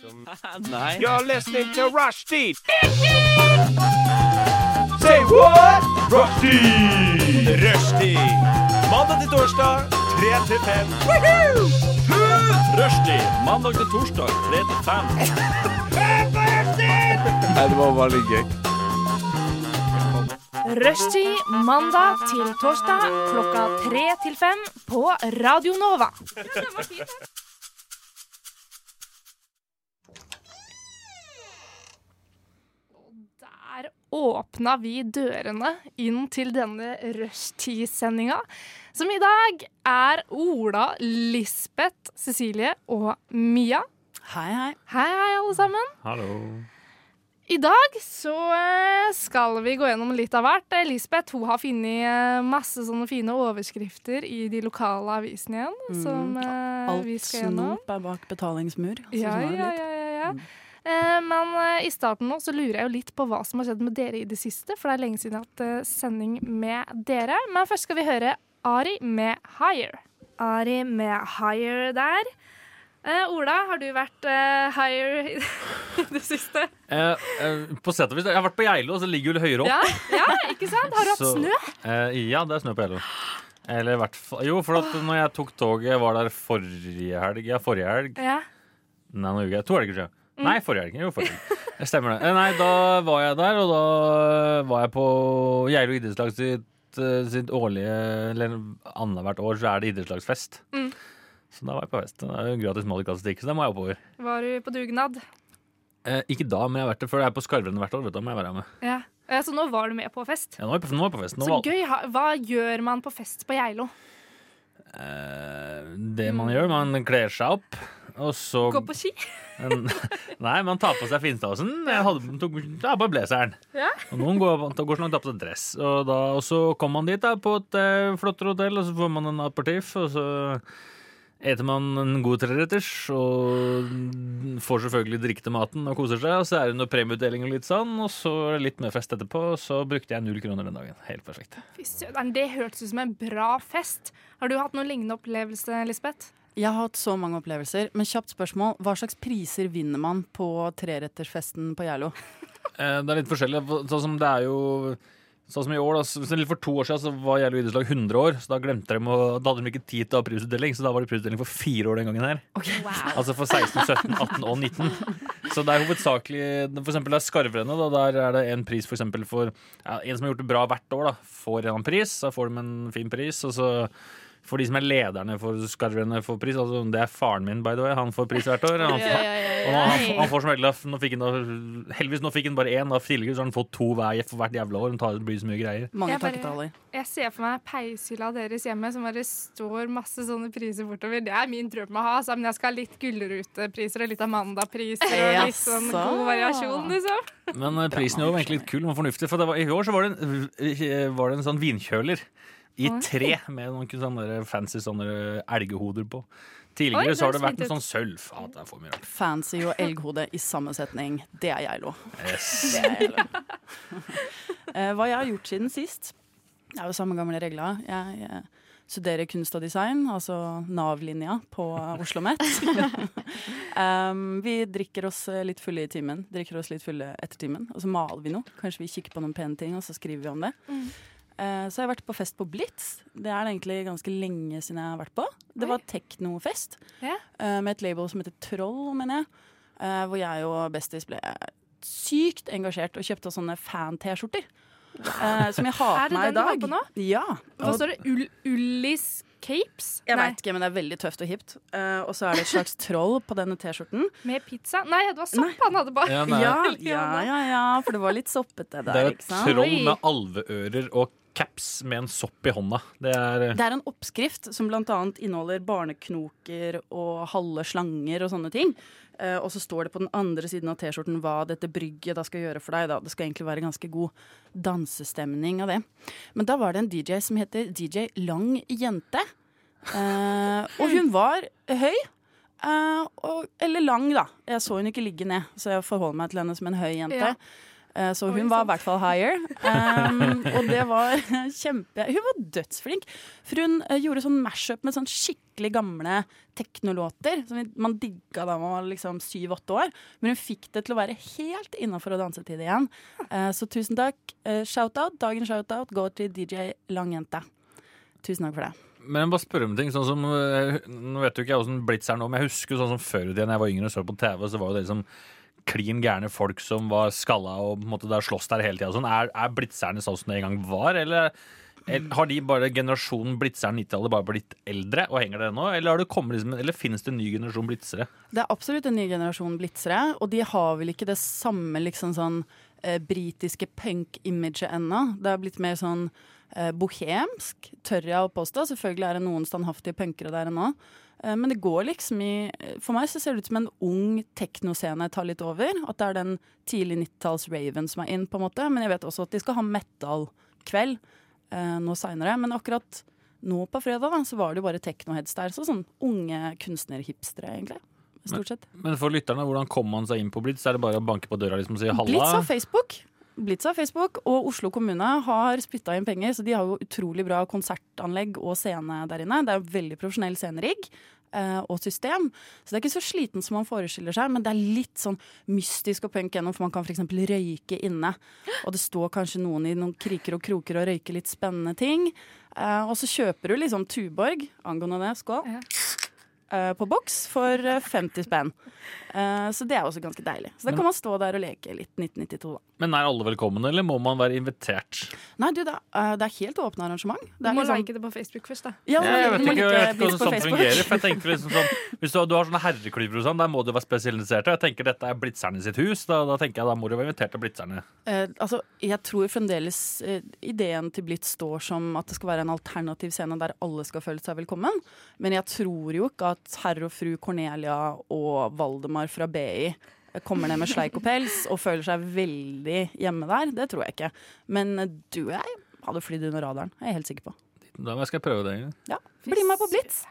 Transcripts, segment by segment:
som Nei. You're listening to Rushdie! Say what? Rushdie! Rushdie! Mandag til torsdag, 3 til 5. Rushdie! Mandag til torsdag, 3 til 5. Rushtid mandag til torsdag klokka tre til fem på Radio Nova. Og der åpna vi dørene inn til denne rushtidssendinga, som i dag er Ola, Lisbeth, Cecilie og Mia. Hei, hei. Hei, hei, alle sammen. Hallo. I dag så eh, skal vi gå gjennom litt av hvert. Eh, Lisbeth hun har funnet eh, masse sånne fine overskrifter i de lokale avisene igjen. Som eh, Alt vi skal gjennom. snop er bak betalingsmur. sånn Ja, er det ja, litt. ja, ja, ja. Eh, Men eh, i starten nå så lurer jeg jo litt på hva som har skjedd med dere i det siste. For det er lenge siden jeg har hatt eh, sending med dere. Men først skal vi høre Ari med 'Higher'. Ari med 'Higher' der. Eh, Ola, har du vært eh, higher i det siste? Eh, eh, på sett og vis. Jeg har vært på Geilo, og så ligger hun høyere opp. Ja, ja, ikke sant? Har du hatt Så- snø? Eh, ja, det er snø på Geilo. Eller i hvert fall Jo, for at når jeg tok toget, var der forrige helg. Ja, forrige helg. Ja. Nei, nå ljuger jeg. To helger siden. Mm. Nei, forrige helg. Jo, forrige helg. Det Stemmer det. Eh, Nei, da var jeg der, og da eh, var jeg på Geilo idrettslag sitt, eh, sitt årlige Eller annethvert år så er det idrettslagsfest. Mm. Så da var jeg på fest. Det er jo gratis malikatstikk, så da må jeg oppover. Var du på dugnad? Eh, ikke da, men jeg har vært det før. Jeg er på Skarvrennet hvert år. vet du, da må jeg være med. Ja. Eh, Så nå var du med på fest? Ja, nå er jeg på, nå er jeg på fest. Nå Så var- gøy. Ha- Hva gjør man på fest på Geilo? Eh, det man gjør, man kler seg opp, og så Gå på ski? en, Nei, man tar på seg finstausen. Jeg hadde, tok, tar på blazeren. Ja. Og noen går, da går sånn at de tar på seg dress. Og, da, og så kommer man dit da, på et eh, flottere hotell, og så får man en aperitiff, og så eter man en god treretters, og får selvfølgelig drikke til maten og koser seg. Og så er det noe premieutdeling og litt sånn, og så er det litt mer fest etterpå. Og så brukte jeg null kroner den dagen. Helt perfekt. Fy søderen, det hørtes ut som en bra fest. Har du hatt noen lignende opplevelse, Lisbeth? Jeg har hatt så mange opplevelser, men kjapt spørsmål. Hva slags priser vinner man på trerettersfesten på Geilo? Eh, Det er litt forskjellig. Sånn som det er jo Sånn som i år, da, så- eller For to år siden så var Gjerlo idrettslag 100 år, så da glemte de å, da hadde de ikke tid til å ha prisutdeling. Så da var det prisutdeling for fire år den gangen her. Altså for 16, 17, 18 og 19. Så det er hovedsakelig For eksempel det er Skarvrennet. Da, der er det en pris for eksempel for ja, En som har gjort det bra hvert år, da, får en annen pris. Da får de en fin pris. Og så for de som er lederne for Skarvrennet, får pris. Altså, det er faren min, by the way. Han får pris hvert år. Han, får- og nå, han, han får som regel nå fikk han, da- Heldigvis nå fikk han bare én. da. Tidligere så har han fått to hver, for hvert jævla år. Han tar, det blir så mye greier. Mange Jeg bare- takketaler. Jeg ser for meg peishylla deres hjemme som bare står masse sånne priser bortover. Det er min drøm å ha, altså, men jeg skal ha litt Gullrutepriser og litt Amanda-priser og litt sånn god Jaså. variasjon, liksom. Men eh, prisen i år var egentlig litt kul og fornuftig. For det var, i år så var det, en, eh, var det en sånn vinkjøler i tre med noen sånne der fancy sånne elgehoder på. Oi, Tidligere det så har det høres vært fint en sånn sølv. Faen, det er for mye rart. Fancy og elghode i samme setning. Det er Geilo. Yes. Eh, hva jeg har gjort siden sist? Det er jo samme gamle regla. Jeg eh, studerer kunst og design, altså Nav-linja på Oslo Met. um, vi drikker oss eh, litt fulle i timen, drikker oss litt fulle etter timen, og så maler vi noe. Kanskje vi kikker på noen pene ting, og så skriver vi om det. Mm. Eh, så har jeg vært på fest på Blitz. Det er det egentlig ganske lenge siden jeg har vært på. Det var teknofest Ja. eh, med et label som heter Troll, mener jeg. eh, hvor jeg og Bestis ble sykt engasjert og kjøpte oss sånne fan-T-skjorter. eh, som jeg har Er det på meg den i du dag. har på nå? Ja. Hva Og- står det? Ull Ullis capes? jeg Nei, veit ikke, men det er veldig tøft og hipt. Eh, og så er det et slags troll på denne T-skjorten. Med pizza? Nei, det var sopp han hadde bak. Ja, nei, Ja, ja, ja, ja, for det var litt soppete det der, er ikke et sant? troll med alveører og caps med en sopp i hånda. Det er eh, Det er en oppskrift som bl.a. inneholder barneknoker og halve slanger og sånne ting. Eh, og så står det på den andre siden av T-skjorten hva dette brygget da skal gjøre for deg. Da. Det skal egentlig være ganske god dansestemning av det. Men da var det en DJ som heter DJ Lang Jente. Eh, og hun var høy. eh, og, eller lang, da. Jeg så hun ikke ligge ned, så jeg forholder meg til henne som en høy jente. Eh, Så Oi, hun var sant. i hvert fall higher. Um, og det var kjempe Hun var dødsflink. For hun eh, gjorde sånn mash-up med sånn skikkelig gamle teknolåter. Som vi- man digga da man var liksom syv-åtte år. Men hun fikk det til å være helt innafor å danse til det igjen. Eh, Så tusen takk. Eh, Shout-out, dagens shout-out går til DJ Langjenta. Tusen takk for det. Men jeg må bare spørre om ting. Sånn som, eh, nå vet jo ikke jeg hvordan Blitz er nå, men jeg husker jo sånn som før i tiden jeg var yngre og så på TV, så var jo det liksom klin gærne folk som var skalla og på en måte der sloss der hele tida. Sånn. Er, er blitzerne sånn som det en gang var, eller eller har de bare generasjonen blitzeren 90-tallet bare blitt eldre og henger der nå, eller, har det kommet liksom, eller finnes det en ny generasjon blitzere? Det er absolutt en ny generasjon blitzere, og de har vel ikke det samme liksom sånn eh, britiske punk-imaget ennå. Det er blitt mer sånn eh, bohemsk, tør jeg å påstå. Selvfølgelig er det noen standhaftige punkere der ennå. Eh, men det går liksom i For meg så ser det ut som en ung teknoscene tar litt over. At det er den tidlig 90-talls-raven som er inn, på en måte. Men jeg vet også at de skal ha metal-kveld eh, nå seinere. Men akkurat nå på fredag da, så var det jo bare techno-heads der. Så sånn unge kunstnerhipstere, egentlig. Stort sett. Men for lytterne, hvordan kom man seg inn på Blitz? Er det bare å banke på døra liksom, og si Blitz halla? har Facebook. Blitz har Facebook, og Oslo kommune har spytta inn penger, så de har jo utrolig bra konsertanlegg og scene der inne. Det er jo veldig profesjonell scenerigg eh, og system, så det er ikke så sliten som man forestiller seg, men det er litt sånn mystisk og punk gjennom, for man kan f.eks. røyke inne. Og det står kanskje noen i noen kriker og kroker og røyker litt spennende ting. Eh, og så kjøper du liksom Tuborg, angående det, skål, Ja. eh, på boks for eh, 50 spenn. Eh, Så det er også ganske deilig. Så da kan man stå der og leke litt 1992, da. Men er alle velkomne, eller må man være invitert? Nei, du, det er, eh, det er helt åpne arrangement. Det Du er må liksom- like det sånn. på Facebook først, da. Ja, Jeg vet du må like ikke, jeg vet ikke hvordan Blitz på sånt Facebook. fungerer. For jeg tenker liksom sånn Hvis du, har- du har sånne herreklubber og sånn, der må du være spesialisert. Og jeg tenker dette er Blitzerne sitt hus. Da, da tenker jeg da må du være invitert til Blitzerne. Eh, altså, jeg tror fremdeles eh, ideen til Blitz står som at det skal være en alternativ scene der alle skal føle seg velkommen. Men jeg tror jo ikke at herr og fru Cornelia og Valdemar fra BI kommer ned med sleik og pels og føler seg veldig hjemme der. Det tror jeg ikke. Men eh, du og jeg hadde flydd under radaren, jeg er jeg helt sikker på. Da må jeg skal jeg prøve det. egentlig. Ja, Bli med på Blitz!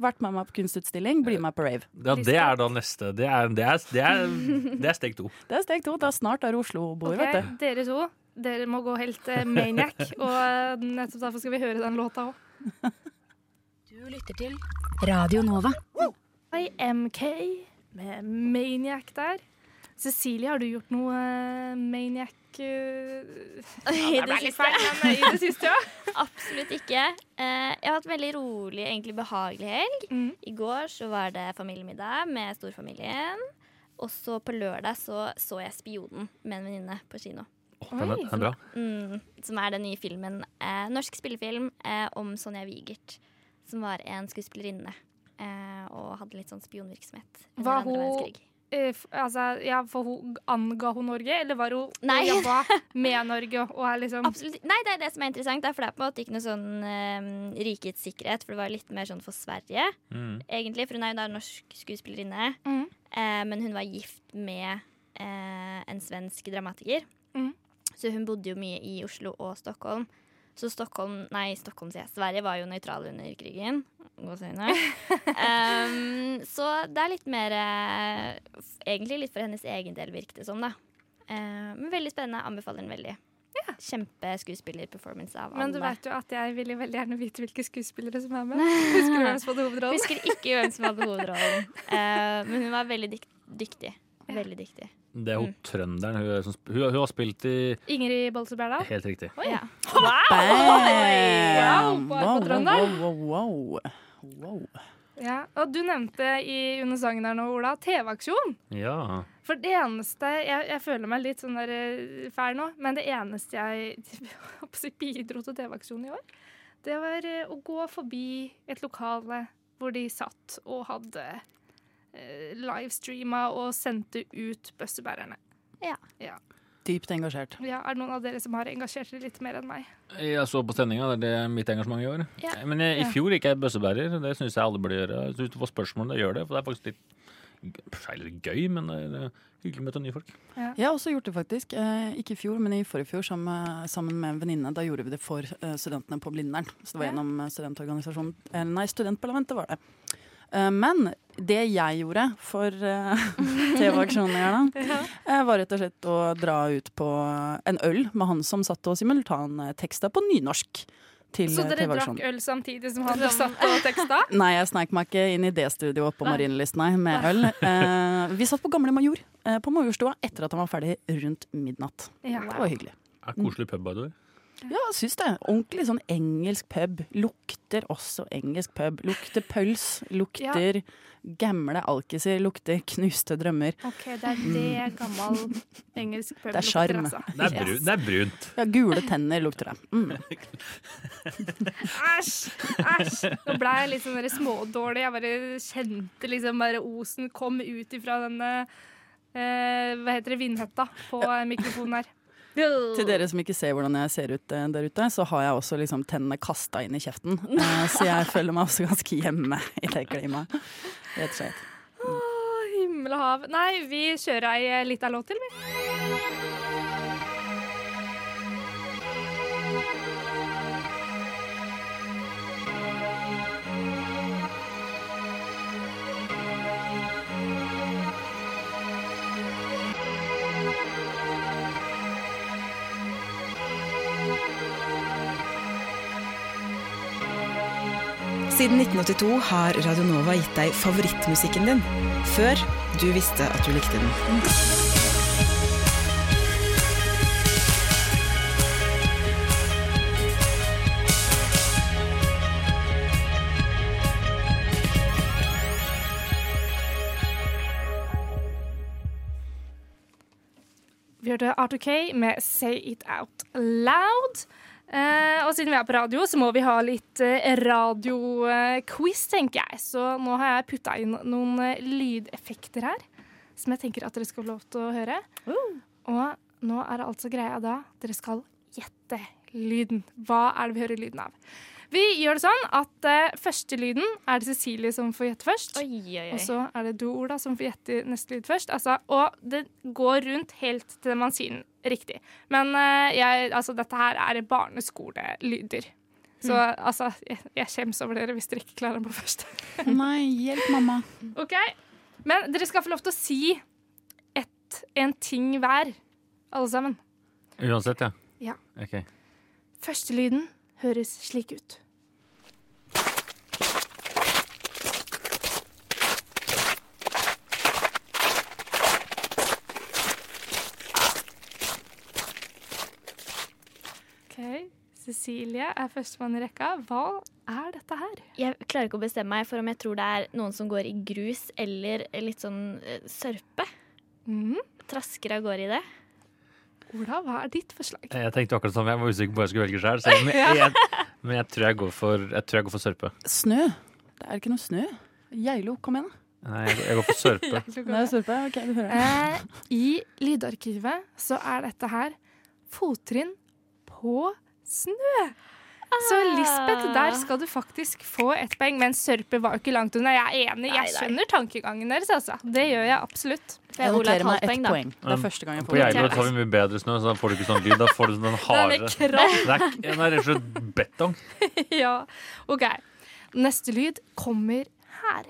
Vært med meg på kunstutstilling, bli med på rave. Ja, det er da neste. Det er, det er, det er, det er steg to. Det er steg to. Det er snart der Oslo-bord, Ok, vet du. dere to. Dere må gå helt eh, maniac, og eh, nettopp derfor skal vi høre den låta òg. Du lytter til Radio Nova. IMK med Maniac der. Cecilie, har du gjort noe eh, maniac eh, det I det ble litt siste. feil, men i det siste, ja. Absolutt ikke. Eh, jeg har hatt veldig rolig, egentlig behagelig helg. Mm. I går så var det familiemiddag med storfamilien. Og så på lørdag så, så jeg 'Spionen' med en venninne på kino. Å, Den er, den er bra. Mm, som er den nye filmen. Eh, norsk spillefilm eh, om Sonja Wigert, som var en skuespillerinne. Eh, og hadde litt sånn spionvirksomhet. under Var andre hun- verdenskrig. Eh, f- altså, ja, for hun anga hun Norge, eller var hun Nei. jobba med Norge og er liksom Absolutt. Nei, det er det som er interessant. Det er for det er på en måte ikke noe sånn eh, rikets sikkerhet, for det var litt mer sånn for Sverige, Mm. egentlig. For hun er jo da norsk skuespillerinne. Mm. Eh, men hun var gift med eh, en svensk dramatiker. Mm. Så hun bodde jo mye i Oslo og Stockholm. Så Stockholm, nei, Stockholm sier jeg. Sverige var jo nøytral under krigen. Gåseøyne. um, så det er litt mer eh, f- Egentlig litt for hennes egen del, virket det som. da. Eh, men veldig spennende. Anbefaler den veldig. Kjempeskuespillerperformance av Men du alle. vet jo at jeg ville veldig gjerne vite hvilke skuespillere som er med. Husker du hvem som hadde Jeg hovedrollen? Husker ikke hvem som hadde hovedrollen, Eh, men hun var veldig dyk dyktig. Ja. Veldig dyktig. Det er hun Mm. trønderen. Hun, er som sp- hun, hun har spilt i Ingrid Bolse Berdal. Helt riktig. Ja. Bam! Wow, bare på Trønderen. wow, wow, wow, wow. Ja. Og du nevnte i under sangen her nå, Ola, TV-aksjon. Ja. For det eneste jeg, jeg føler meg litt sånn der eh, fæl nå, men det eneste jeg jeg håper å si, bidro til TV-aksjonen i år, det var eh, å gå forbi et lokale hvor de satt og hadde eh, livestreama og sendte ut bøssebærerne. Dypt engasjert. Ja, er det noen av dere som har engasjert dere litt mer enn meg? Jeg så på sendinga. Det er det mitt engasjement i år. Ja. Men jeg, i Ja. fjor gikk jeg bøssebærer. Det syns jeg alle burde gjøre. Hvis du får spørsmål, da gjør det. For det er faktisk litt g- feil eller gøy, men det er eh, hyggelig å møte nye folk. Jeg har også gjort det, faktisk. Eh, ikke i fjor, men i forrige fjor sammen, sammen med en venninne. Da gjorde vi det for eh, studentene på Blindern. Så det var Ja. gjennom eh, studentorganisasjonen eh, Nei, studentparlamentet var det. Eh, men det jeg gjorde for eh, TV-aksjonen her, da, eh, var rett og slett å dra ut på en øl med han som satt og simultanteksta på nynorsk til Så eh, dere TV-aksjonen. drakk øl samtidig som han satt og teksta? Nei, jeg sneik meg ikke inn i det studioet på Marienlyst, nei, med øl. Eh, vi satt på Gamle Major eh, på Majorstua etter at han var ferdig rundt midnatt. Ja. Det var hyggelig. Er koselig pub, by the way. Ja, jeg syns det. Ordentlig sånn engelsk pub. Lukter også engelsk pub. Lukter pøls. Lukter gamle alkiser. Lukter knuste drømmer. Ok, det er det gammel engelsk pub Det er lukter, sjarm. altså. Det er, bru, det er brunt. Ja, gule tenner lukter det. Mm. Æsj! æsj Nå ble jeg litt sånn der smådårlig. Jeg bare kjente liksom bare osen kom ut ifra denne eh, Hva heter det? Vindhetta på eh, mikrofonen her. Til dere som ikke ser hvordan jeg ser ut eh, der ute, så har jeg også liksom tennene kasta inn i kjeften. Eh, så jeg føler meg også ganske hjemme i det klimaet. Rett og slett. Å, himmel og hav. Nei, vi kjører ei eh, lita låt til, vi. Siden 1982 har Radio Nova gitt deg favorittmusikken din, før du visste at du likte den. Vi hørte Art OK med 'Say It Out Loud'. Eh, og siden vi er på radio, så må vi ha litt eh, radioquiz, tenker jeg. Så nå har jeg putta inn noen eh, lydeffekter her, som jeg tenker at dere skal få lov til å høre. Og nå er det altså greia da dere skal gjette lyden. Hva er det vi hører lyden av? Vi gjør det sånn at eh, første lyden er det Cecilie som får gjette først. Oi, oi, Og oi. så er det du, Ola, som får gjette neste lyd først. Altså, og det går rundt helt til man sier den riktig. Men eh, jeg, altså, dette her er barneskolelyder. Så altså, jeg, jeg skjems over dere hvis dere ikke klarer den på første. Nei, hjelp mamma. Ok, Men dere skal få lov til å si ett, en ting hver, alle sammen. Uansett, ja. Ja. Ok. Førstelyden høres slik ut. Ok, Cecilie er førstemann i rekka. Hva er dette her? Jeg klarer ikke å bestemme meg for om jeg tror det er noen som går i grus eller litt sånn eh, sørpe. Mhm. Trasker av gårde i det. Ola, hva er ditt forslag? Jeg tenkte akkurat det samme. Jeg var usikker på hva jeg skulle velge sjøl. Men, jeg, men jeg tror jeg går for, jeg tror jeg går for sørpe. Snø. Det er ikke noe snø. Geilo, kom igjen. da. Nei, jeg, jeg går for sørpe. Nei, sørpe. Ok, du hører. Eh, I lydarkivet så er dette her fottrinn på snø. Så Ah. Lisbeth, der skal du faktisk få ett poeng, men sørpe var jo ikke langt unna. Jeg er enig, jeg Nei, nei. skjønner tankegangen deres, altså. Det gjør jeg absolutt. For jeg Ola et halvt poeng, da. Det er første gang jeg Mm. På får det. Geilo tar vi mye bedre snø, så da får du ikke sånn lyd. Da får du sånn den harde med Det er ikke- Den er rett og slett betong. ja, OK. Neste lyd kommer her.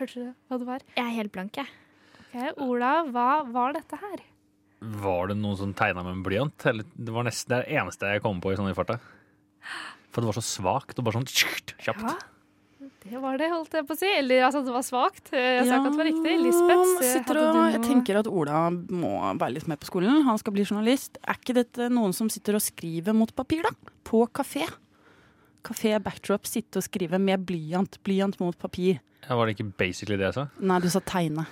Hørte dere hva det var? Jeg er helt blank, jeg. Ok, Ola, hva var dette her? Var det noen som tegna med en blyant? Eller, det var nesten det eneste jeg kom på i sånn i farta. For det var så svakt og bare sånn tsk, kjapt. Ja, det var det, holdt jeg på å si. Eller altså, det var svakt. Jeg sa ikke at det var riktig. Lisbeth, Ja, eh, men sitter og, hadde du jeg noe- tenker at Ola må være litt med på skolen. Han skal bli journalist. Er ikke dette noen som sitter og skriver mot papir, da? På kafé. Kafé backdrop, sitte og skrive med blyant. Blyant mot papir. Ja, Var det ikke basically det jeg sa? Nei, du sa tegne.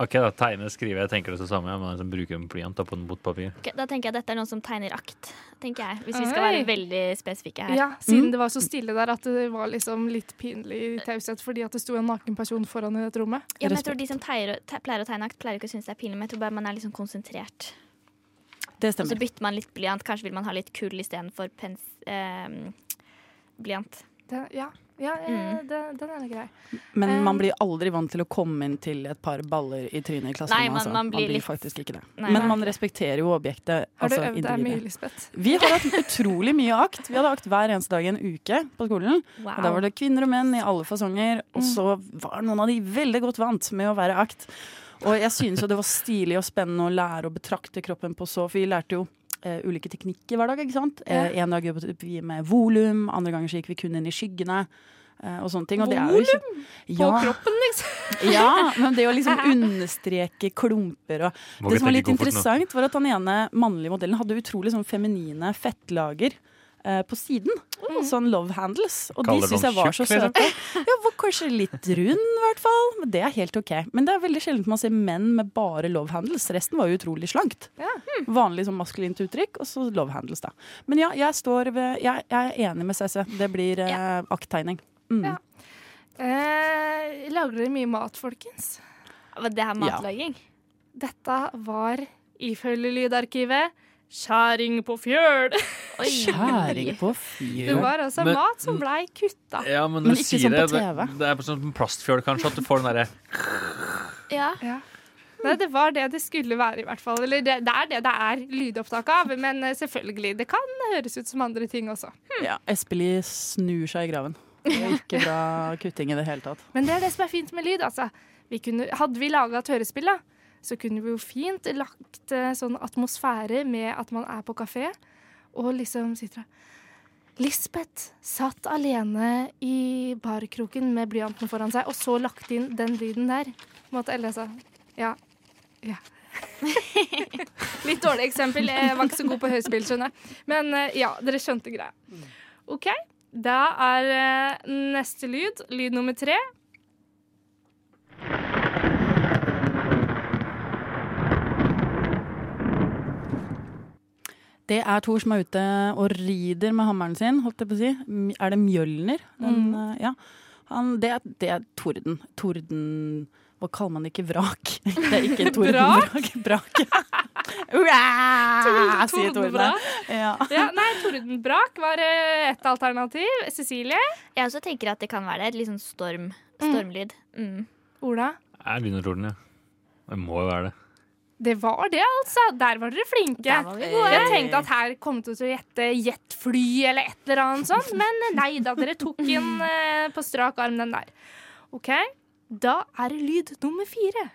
Ok, da tegne, skrive, jeg tenker det samme. Men liksom bruker en blyant da på en bot papir. Ok, da tenker jeg at dette er noen som tegner akt, tenker jeg. Hvis vi skal Oi. være veldig spesifikke her. Ja, mm. siden det var så stille der at det var liksom litt pinlig taushet fordi at det sto en naken person foran i dette rommet. Ja, men jeg tror De som teier, te, pleier å tegne akt, pleier ikke å synes det er pinlig, men jeg tror bare man er litt sånn konsentrert. Det Og så stemmer. bytter man litt blyant. Kanskje vil man ha litt kull istedenfor pens... Eh, blyant. Det, ja, Ja, eh, Mm. det, den er grei. Men man Eh. blir aldri vant til å komme inn til et par baller i trynet i klasserommet. Nei, man- altså. man blir litt- faktisk ikke det. Nei, Men nei. man respekterer jo objektet. Har du altså øvd deg individet. mye, Lisbeth? Vi har hatt utrolig mye akt. Vi hadde akt hver eneste dag i en uke på skolen. Og da Wow. var det kvinner og menn i alle fasonger. Mm. Og så var noen av de veldig godt vant med å være akt. Og jeg synes jo det var stilig og spennende å lære å betrakte kroppen på så For vi lærte jo eh, ulike teknikker hver dag, ikke sant. Eh, en dag jobbet vi med volum, andre ganger så gikk vi kun inn i skyggene. eh, Og sånne ting. Og Volum På kroppen, liksom? ja, men det å liksom understreke klumper og Må vi Det som tenke var koffert litt nå? interessant, var at han ene mannlige modellen hadde utrolig sånn feminine fettlager. eh, På siden. Sånn love handles. Og Kaller de syns man jeg var så tjukk, liksom? søte. Ja, var kanskje litt rund, i hvert fall. Men det er helt OK. Men det er veldig sjelden man ser menn med bare love handles. Resten var jo utrolig slankt. Vanlig sånn maskulint uttrykk, og så love handles, da. Men ja, jeg står ved Jeg, jeg er enig med CC. Det blir eh, akttegning. Mm. Ja. Eh, lager dere mye mat, folkens? Var det her matlaging? Dette var, ifølge Lydarkivet, skjæring på fjøl. Oi. Kjæring på Det fyr. var altså Men- mat som blei kutta. Ja, men, Men du ikke sier sånn på det, det- TV. Det er på sånn plastfjøl, kanskje, at du får den derre Ja. Nei, det var det det skulle være, i hvert fall. Eller det, det er det det er lydopptak av. Men eh, selvfølgelig, det kan høres ut som andre ting også. Ja, Espelid snur seg i graven. Det er ikke bra kutting i det hele tatt. Men det er det som er fint med lyd, altså. Vi kunne, hadde vi laga et hørespill, da, så kunne vi jo fint lagt eh, sånn atmosfære med at man er på kafé, og liksom sitter der. Lisbeth satt alene i barkroken med blyanten foran seg, og så lagt inn den lyden der. På en måte, eller altså Ja. ja. Litt dårlig eksempel. Jeg var ikke så god på hørespill, skjønner jeg. Men eh, ja, dere skjønte greia. OK. Da er eh, neste lyd, lyd nummer tre. Det er Thor som er ute og rider med hammeren sin, holdt jeg på å si. M- Er det Mjølner? Den, eh, Ja. Han, det, er- det er torden. Torden Hva kaller man det ikke? Vrak? Det er ikke tordenvrak. Brak. Ura, sier torden. Tordenvrak. Ja. Ja, nei, Tordenbrak var eh, et alternativ. Cecilie? Jeg også tenker at det kan være det. Et litt sånn storm. Stormlyd. Mm. Ola? Er lynorden, ja. Det må jo være det. Det var det, altså. Der var dere flinke. Der var vi gode. Jeg tenkte at her kom dere til å gjette jetfly eller et eller annet sånt, men eh, nei da, dere tok inn eh, på strak arm den der. OK, da er det lyd nummer fire.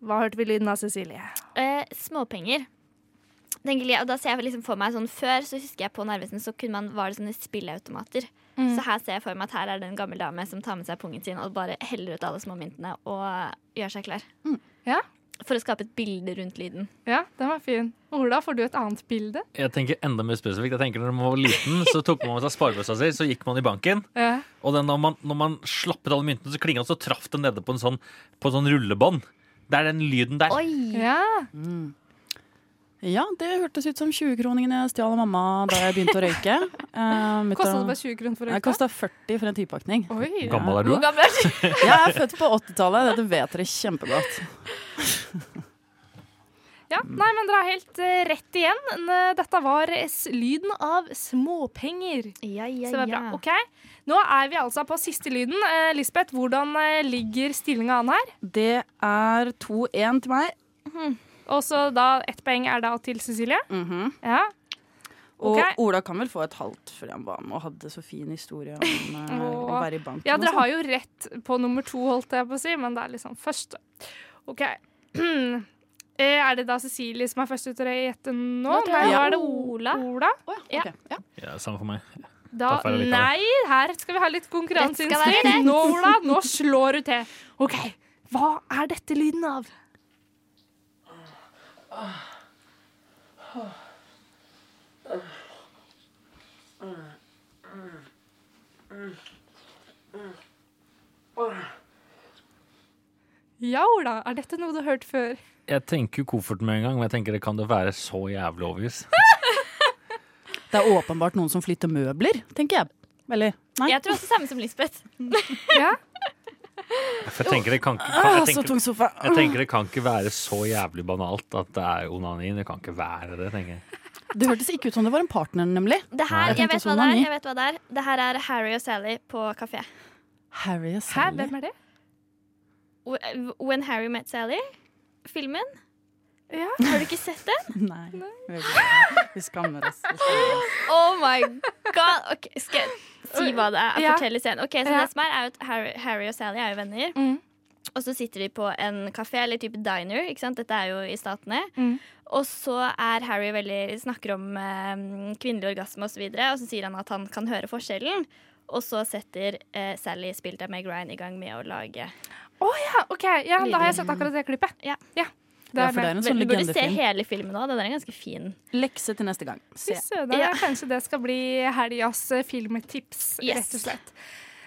Hva hørte vi lyden av, Cecilie? Eh, småpenger. Tenker jeg, og da ser jeg liksom for meg sånn Før så husker jeg på Narvesen så kunne man, var det sånne spilleautomater. Så her ser jeg for meg at her er det en gammel dame som tar med seg pungen sin og bare heller ut alle småmyntene og gjør seg klar. Ja. For å skape et bilde rundt lyden. Ja, den var fin. Ola, får du et annet bilde? Jeg tenker enda mer spesifikt. Jeg tenker Når man var liten, så tok man med seg sparebøssa si, så gikk man i banken. Ja. Og den, når, man, når man slappet alle myntene, så klinga det, så traff den nede på en sånn, på en sånn rullebånd. Det er den lyden der. Oi! ja. ja, det hørtes ut som 20-kroningene jeg stjal av mamma da jeg begynte å røyke. Uh, Kosta det bare 20 kroner for å Jeg kosta 40 for en tipakning. Oi. Hvor gammel er du? da? Jeg er født på 80-tallet, dette vet dere kjempegodt. Ja, nei, men dere er helt eh, rett igjen. N- Dette var s- lyden av småpenger. Ja, ja, Så det var bra. ja. Ok, Nå er vi altså på siste lyden. Eh, Lisbeth, hvordan eh, ligger stillinga an her? Det er 2-1 til meg. Og så da ett poeng er da til Cecilie. Mhm. Ja. Og Ok. Ola kan vel få et halvt, fordi han var med og hadde så fin historie om eh, Åh. å være i banken. ja, dere og sånn. har jo rett på nummer to, holdt jeg på å si, men det er liksom først. OK. Eh, Er det da Cecilie som er først ute til å gjette nå? Nå tror jeg Nei, nå det er det er Ola. Ola. sånn. ja. Ok, ja. Ja, samme for meg. Da, Da får jeg litt av det. nei, her skal vi ha litt Rett skal være konkurranseinstinkt. rett. Nå, Ola, nå slår du til. OK, hva er dette lyden av? Ja, Ola, er dette noe du har hørt før? Jeg tenker jo koffert med en gang, men jeg tenker det kan det være så jævlig obvious. Det er åpenbart noen som flytter møbler, tenker jeg. Eller nei. Jeg tror også samme som Lisbeth. Ja, For jeg tenker det kan, ikke- Ah, kan, jeg så tenker, tung sofa. jeg tenker det kan ikke være så jævlig banalt at det er onani. Det kan ikke være det, tenker jeg. Det hørtes ikke ut som det var en partner, nemlig. Det her, Jeg jeg tenkte vet hva det er. onani. jeg vet hva det er Det her er Harry og Sally på kafé. Harry og Hæ, Sally. hvem er det? Wh- When Harry Met Sally. Filmen. Ja. Har du ikke sett den? Nei. vi vet ikke. Vi skammer oss. Vi skammer oss. Oh my god! Ok, skal jeg si hva det er? Ja. Fortell i scenen. Ok, så Ja. det som er, er jo at Harry, Harry og Sally er jo venner. Mm. Og så sitter de på en kafé, eller type diner. Ikke sant? Dette er jo i Statene. Mm. Og så er Harry veldig, snakker om eh, kvinnelig orgasme osv., og, så videre, og så sier han at han kan høre forskjellen. Og så setter eh, Sally, spilt av Meg Ryan, i gang med å lage Ja, ok, ja, Da har jeg sett akkurat det klippet. Ja. Det Ja, er for det med. er en Vel, sånn Du burde se legendefilm. hele filmen òg. Den er ganske fin. Lekse til neste gang. Fy Se. søren, Ja. Kanskje det skal bli helgas eh, filmtips, Yes. rett og slett.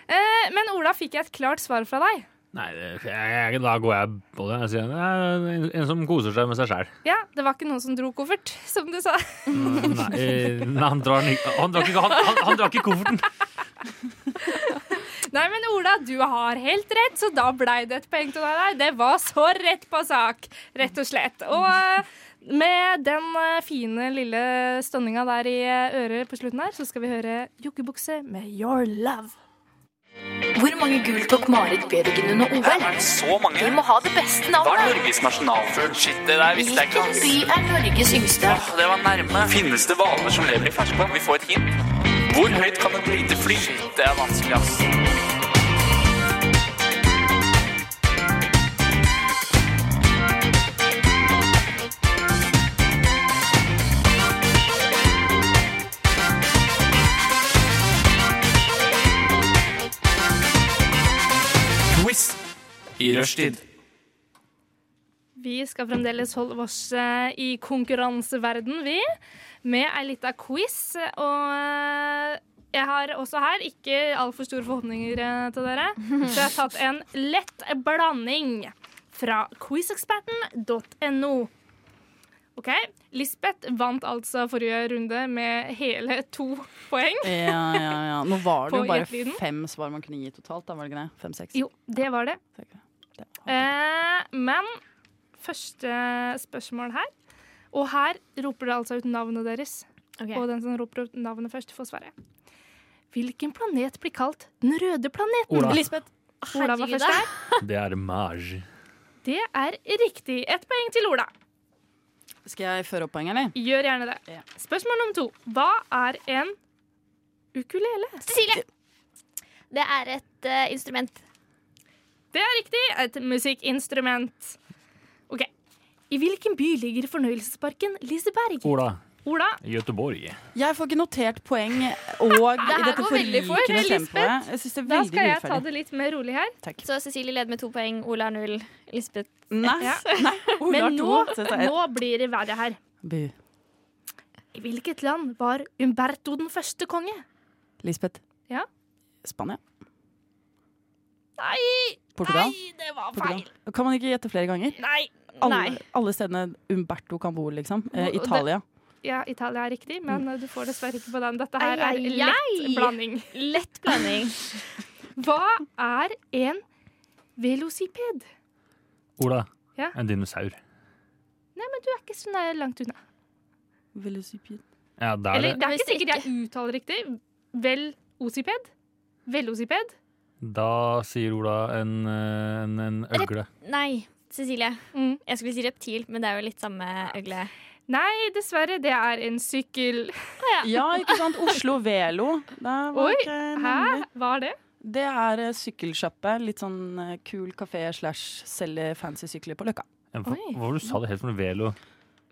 Eh, men Ola, fikk jeg et klart svar fra deg? Nei, det- jeg, jeg, da går jeg på det. Jeg sier, "Nei, en, en som koser seg med seg sjæl. Ja, Det var ikke noen som dro koffert, som du sa. Nei, eh, nei, han drar den ikke- han drar ikke, han, han, han drar ikke kofferten. Nei, men Ola, du har helt rett, så da blei det et poeng til deg. Det var så rett på sak, rett og slett. Og eh, med den eh, fine lille stønninga der i eh, øret på slutten her, så skal vi høre Jokkebukse med Your Love. Hvor mange gull tok Marit Bjørgen under OL? Så mange? Vi må ha det beste Hva er navnet. Norges nasjonalfugl? Shit, det der visste jeg ikke. Hvilken by er Norges yngste? Åh, Det var nærme. Finnes det hvaler som lever i ferskvann? Vi får et hint. Hvor høyt kan et lite fly? Shit, det er vanskelig, ass. Quiz i rushtid. Vi skal fremdeles holde oss eh, i konkurranseverden, vi. Med ei lita quiz. Og eh, jeg har også her ikke altfor store forhåpninger eh, til dere. Så jeg har tatt en lett blanding fra quizeksperten.no. OK. Lisbeth vant altså forrige runde med hele to poeng. Ja, ja, ja. Nå var det På jo bare gjetelyden. fem svar man kunne gi totalt. Da var det ikke det? Fem-seks? Jo, det var det. Eh, men første spørsmål her. Og her roper det altså ut navnet deres. Og den som roper ut navnet først, får svaret. Hvilken planet blir kalt den røde planeten? Ola. Lisbeth. Ola var Herregud, først da. her. Det er Maj. Det er riktig. Ett poeng til Ola. Eh. Skal jeg føre opp poenget, eller? Gjør gjerne det. Ja. Spørsmål nummer to. Hva er en ukulele? Cecilie! Det er et eh, instrument. Det er riktig. Et musikkinstrument. OK. I hvilken by ligger fornøyelsesparken Liseberg? Ola. Ola. Göteborg. Jeg får ikke notert poeng og i her dette går veldig fort, forrykende Lisbeth. tempoet. Jeg syns det er Da veldig skal jeg ta urettferdig. det litt mer rolig her. Takk. Så Cecilie leder med to poeng. Ola har null. Lisbeth Nei, Ja. nei. Ola Men nå, har to. Så jeg tar ett. nå blir det verre her. Bu. I hvilket land var Umberto den første konge? Lisbeth. Ja. Spania. Nei! Portugal. Nei, det var Portugal. feil. Kan man ikke gjette flere ganger? Nei. Alle, alle stedene Umberto kan bo, liksom. Eh, Og det- Italia. Ja, Italia er riktig, men du får dessverre ikke på den. Dette her Ai, er ai, lett ai. blanding. Lett blanding. Hva er en velociped? Ola. Ja. En dinosaur. Nei, men du er ikke så nær- langt unna. Velociped. Ja, det er Eller det. det er ikke Hvis sikkert jeg uttaler riktig. Velociped? Velociped? Da sier Ola en, eh, en, en øgle. Nei, Cecilie. Mm. Jeg skulle si reptil, men det er jo litt samme øgle. Nei, dessverre. Det er en sykkel. Ja, ikke sant? Oslo Velo. Der var Oi, ikke navnet. Hæ? Hva er det? Det er eh, sykkelsjappe. Litt sånn eh, kul kafé slash selger fancy sykler på Løkka. En- Hva Oi. hva var det du sa det helt for noe? Velo?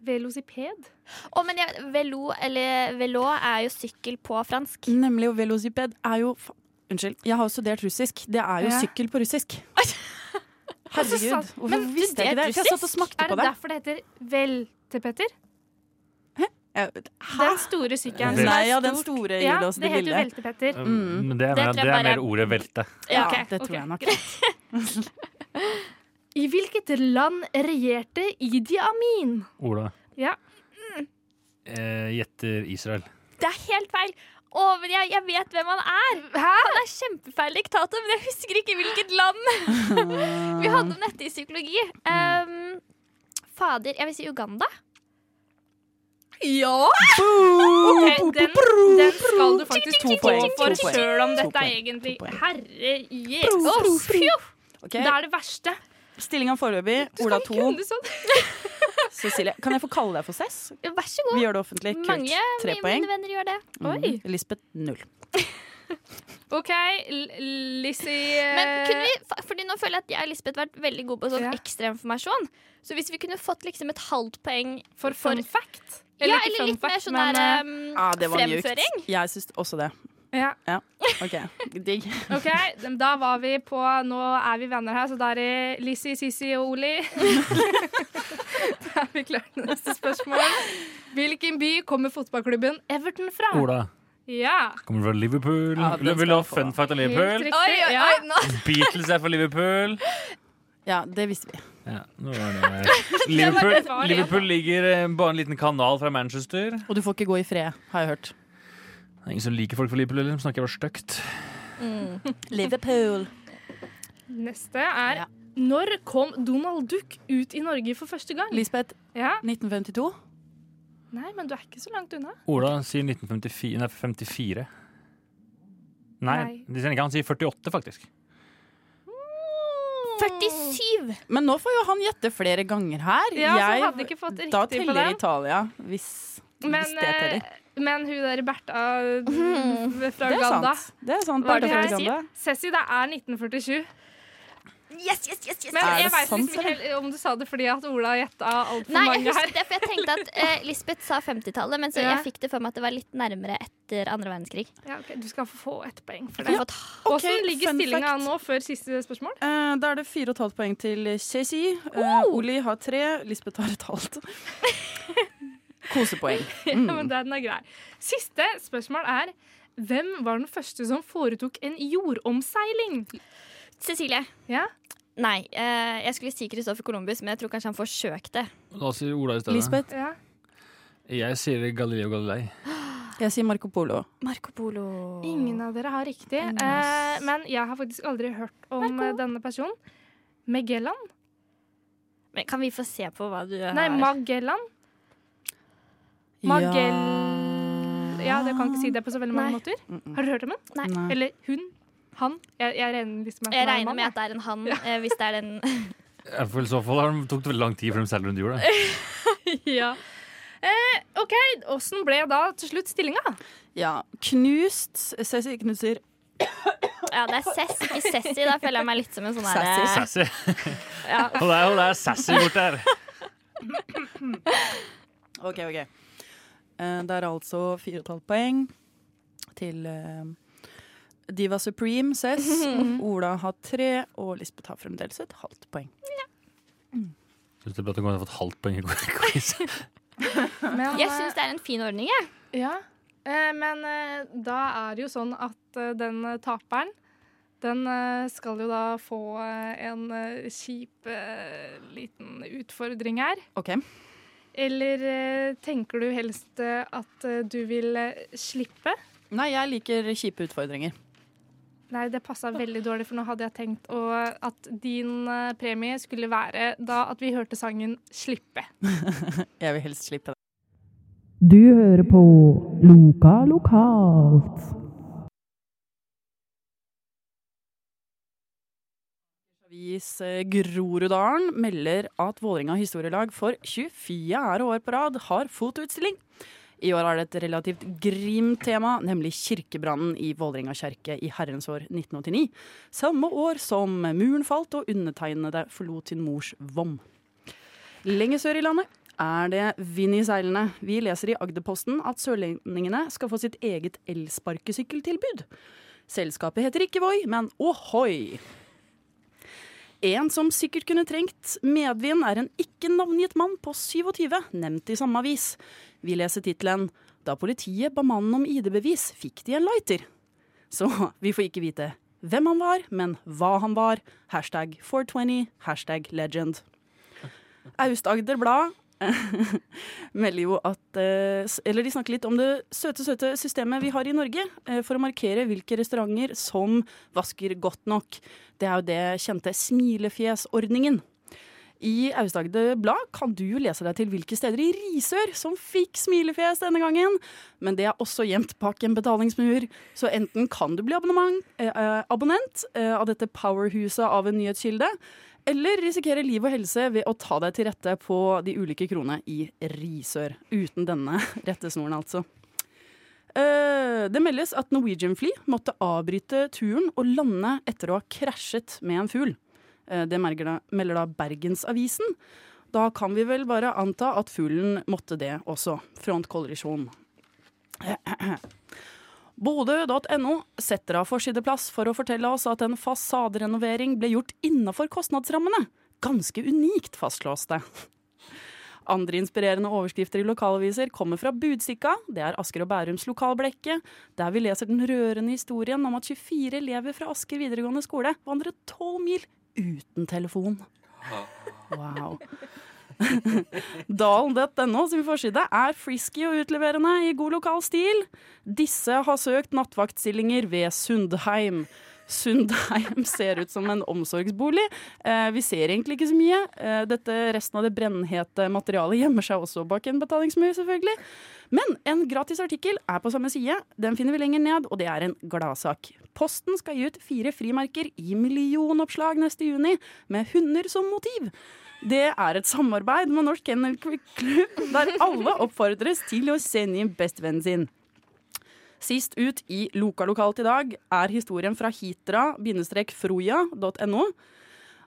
Velociped? Å, men jeg, velo, eller velo, er jo sykkel på fransk. Nemlig, og velociped er jo fa Unnskyld, jeg har jo studert russisk. Det er jo Ja. sykkel på russisk. sant. Herregud, hvorfor Men visste jeg ikke det? For jeg satt og smakte Er på det det. derfor det heter veltepetter? Jeg- Den store sykkelen. som er Nei, ja, den stor. store Ja, gir oss det det heter lille. veltepetter. Mm. Eh, Men det er, mer, Det det tror jeg er mer bare- ordet velte. Ja, ok, det tror ok. jeg nok. I hvilket land regjerte Idi Amin? Ola. Ja. Eh, Gjetter Israel. Det er helt feil! Å, men jeg, jeg vet hvem han er! Han er kjempefeil diktator, men jeg husker ikke hvilket land. Vi hadde Mm. om dette i psykologi. Um, fader, jeg vil si Uganda. Ja! Ok, den, den skal du faktisk to poeng for, To poeng. sjøl om To dette er poeng. egentlig To poeng. Herre Jesus! Fjo! Ok, Det er det verste. Stillinga foreløpig. Ola Skal vi 2, kunne sånn? Cecilie. Kan jeg få kalle deg for Cess? Ja, Vær så Vi god. gjør det offentlig. Kult. Mange av Tre mine poeng. venner gjør det. Oi. Mm. Lisbeth null. OK, L- Lizzie eh, Men kunne vi, fa- fordi nå føler jeg at jeg og Lisbeth har vært veldig gode på sånn Ja. ekstrainformasjon. Så hvis vi kunne fått liksom et halvt poeng For fun fact? ja, ikke eller fun litt mer fact, sånn men, der eh, eh, um, Ah, det var mjukt. fremføring. Jeg syns også det. ja. Ja, OK. Digg. OK, men da var vi på Nå er vi venner her, så da er det Lizzie, Sissy og Oli. da er vi klare til neste spørsmål. Hvilken by kommer fotballklubben Everton fra? Ola Ja, kommer fra Liverpool. Ja, den Vil du skal ha jeg få. fun fact av helt Liverpool? riktig. ja. Beatles er fra Liverpool. Ja, det visste vi. Ja, nå var det Liverpool, Liverpool ligger eh, bare en liten kanal fra Manchester. Og du får ikke gå i fred, har jeg hørt. Det er ingen som liker folk fra Liverpool, eller som snakker bare stygt. Liverpool. Neste er Ja. Når kom Donald Duck ut i Norge for første gang? Lisbeth, Ja. 1952. Nei, men du er ikke så langt unna. Ola sier 1954 Nei, 54. Nei, Nei. det sier han ikke. Han sier 48, faktisk. 47! Men nå får jo han gjette flere ganger her. Ja, så jeg hadde ikke fått riktig da på teller den. Italia, hvis, hvis Men, det teller. eh, men hun der Bertha eh, fra Mhm. Det er Uganda sant. Det er sant. Hva er Bertha det fra jeg Uganda. Cessy, det er 1947. Yes, yes, yes, yes. Men Er jeg det veit sant, liksom ikke helt om du sa det fordi at Ola gjetta altfor Nei, jeg mange her. husker det, for jeg tenkte at eh, Lisbeth sa 50-tallet, men så Ja. jeg fikk det for meg at det var litt nærmere etter andre verdenskrig. Ja, ok, du skal få ett poeng for Jeg det. har fått Ok, Åssen ligger fun stillinga fact. nå før siste spørsmål? Eh, da er det fire og et halvt poeng til Ceci. Eh, Oli har tre, Lisbeth har et halvt. Kosepoeng. Ja, men den er grei. Siste spørsmål er hvem var den første som foretok en jordomseiling? Cecilie. Ja? Nei, eh, jeg skulle si Christoffer Columbus, men jeg tror kanskje han forsøkte. Da sier Ola i stedet. Lisbeth, ja. Jeg sier Galileo Galilei. jeg sier Marco Polo. Marco Polo. Ingen av dere har riktig. Eh, men jeg har faktisk aldri hørt om eh, denne personen. Magellan? Men kan vi få se på hva du Eh, har Nei, Magellan. Magell- Ja, det kan jeg ikke si det på så veldig mange Nei. måter. Har du hørt om den? Nei. Nei. Eller hun? Han? Jeg, jeg regner liksom med at Jeg han er en regner mann, med jeg. at det er en han, eh, hvis det er den Jeg føler I så fall har det tok det veldig lang tid før de selger rundt jorda. ja. eh, OK, åssen ble da til slutt stillinga? Ja. Knust. Ceci knuser. Ja, det er Sess, ikke Sessi. Da føler jeg meg litt som en sånn Sassy. derre Sassy. Ja. Og det er jo det er sassy bort der. OK, OK. Eh, det er altså fire og et halvt poeng til eh, Diva Supreme, Cess. Ola har tre, og Lisbeth har fremdeles et halvt poeng. Synes det er bra at du kan ha fått halvt poeng i quiz. Men, eh, Jeg syns det er en fin ordning, jeg. Ja, eh, men eh, da er det jo sånn at eh, den eh, taperen, den eh, skal jo da få eh, en eh, kjip eh, liten utfordring her. OK. Eller eh, tenker du helst eh, at eh, du vil eh, slippe? Nei, jeg liker kjipe utfordringer. Nei, det passa veldig dårlig, for nå hadde jeg tenkt å, at din eh, premie skulle være da at vi hørte sangen 'Slippe'. Jeg vil helst slippe det. Du hører på Loka lokalt. Avis eh, Groruddalen melder at Vålerenga historielag for 24. år på rad har fotoutstilling. I år er det et relativt grimt tema, nemlig kirkebrannen i Vålerenga kjerke i herrens år 1989. Samme år som muren falt og undertegnede forlot sin mors vom. Lenger sør i landet er det vind i seilene. Vi leser i Agderposten at sørlendingene skal få sitt eget elsparkesykkeltilbud. Selskapet heter ikke Voi, men Ohoi. En som sikkert kunne trengt medvind, er en ikke-navngitt mann på 27, nevnt i samme avis. Vi leser tittelen 'Da politiet ba mannen om ID-bevis, fikk de en lighter'. Så vi får ikke vite hvem han var, men hva han var. Hashtag 420, hashtag legend. Aust-Agder Blad eh, melder jo at eh, s- Eller de snakker litt om det søte, søte systemet vi har i Norge eh, for å markere hvilke restauranter som vasker godt nok. Det er jo det kjente smilefjesordningen. I Aust-Agder Blad kan du lese deg til hvilke steder i Risør som fikk smilefjes denne gangen. Men det er også gjemt bak en betalingsmur, så enten kan du bli abonnement, eh, eh, abonnent eh, av dette powerhuset av en nyhetskilde, eller risikere liv og helse ved å ta deg til rette på de ulike kronene i Risør. Uten denne rettesnoren, altså. Eh, Det meldes at Norwegian-fly måtte avbryte turen og lande etter å ha krasjet med en fugl. Eh, Det merger da- melder da Bergensavisen. Da kan vi vel bare anta at fuglen måtte det også. Frontkollisjon. Bodø.no setter av forsideplass for å fortelle oss at en fasaderenovering ble gjort innafor kostnadsrammene. Ganske unikt, fastslås det. Andre inspirerende overskrifter i lokalaviser kommer fra Budstikka. Det er Asker og Bærums lokalblekke, der vi leser den rørende historien om at 24 elever fra Asker videregående skole vandret 12 mil uten telefon. Wow. Dalen.no sin forside er frisky og utleverende i god lokal stil. Disse har søkt nattvaktstillinger ved Sundheim. Sundheim ser ut som en omsorgsbolig. Eh, vi ser egentlig ikke så mye. Eh, dette Resten av det brennhete materialet gjemmer seg også bak en betalingsmur, selvfølgelig. Men en gratis artikkel er på samme side. Den finner vi lenger ned, og det er en gladsak. Posten skal gi ut fire frimerker i millionoppslag neste juni, med hunder som motiv. Det er et samarbeid med Norsk Kennel Klubb, der alle oppfordres til å sende inn bestevennen sin. Sist ut i Loka lokalt i dag er historien fra hitra-froja.no.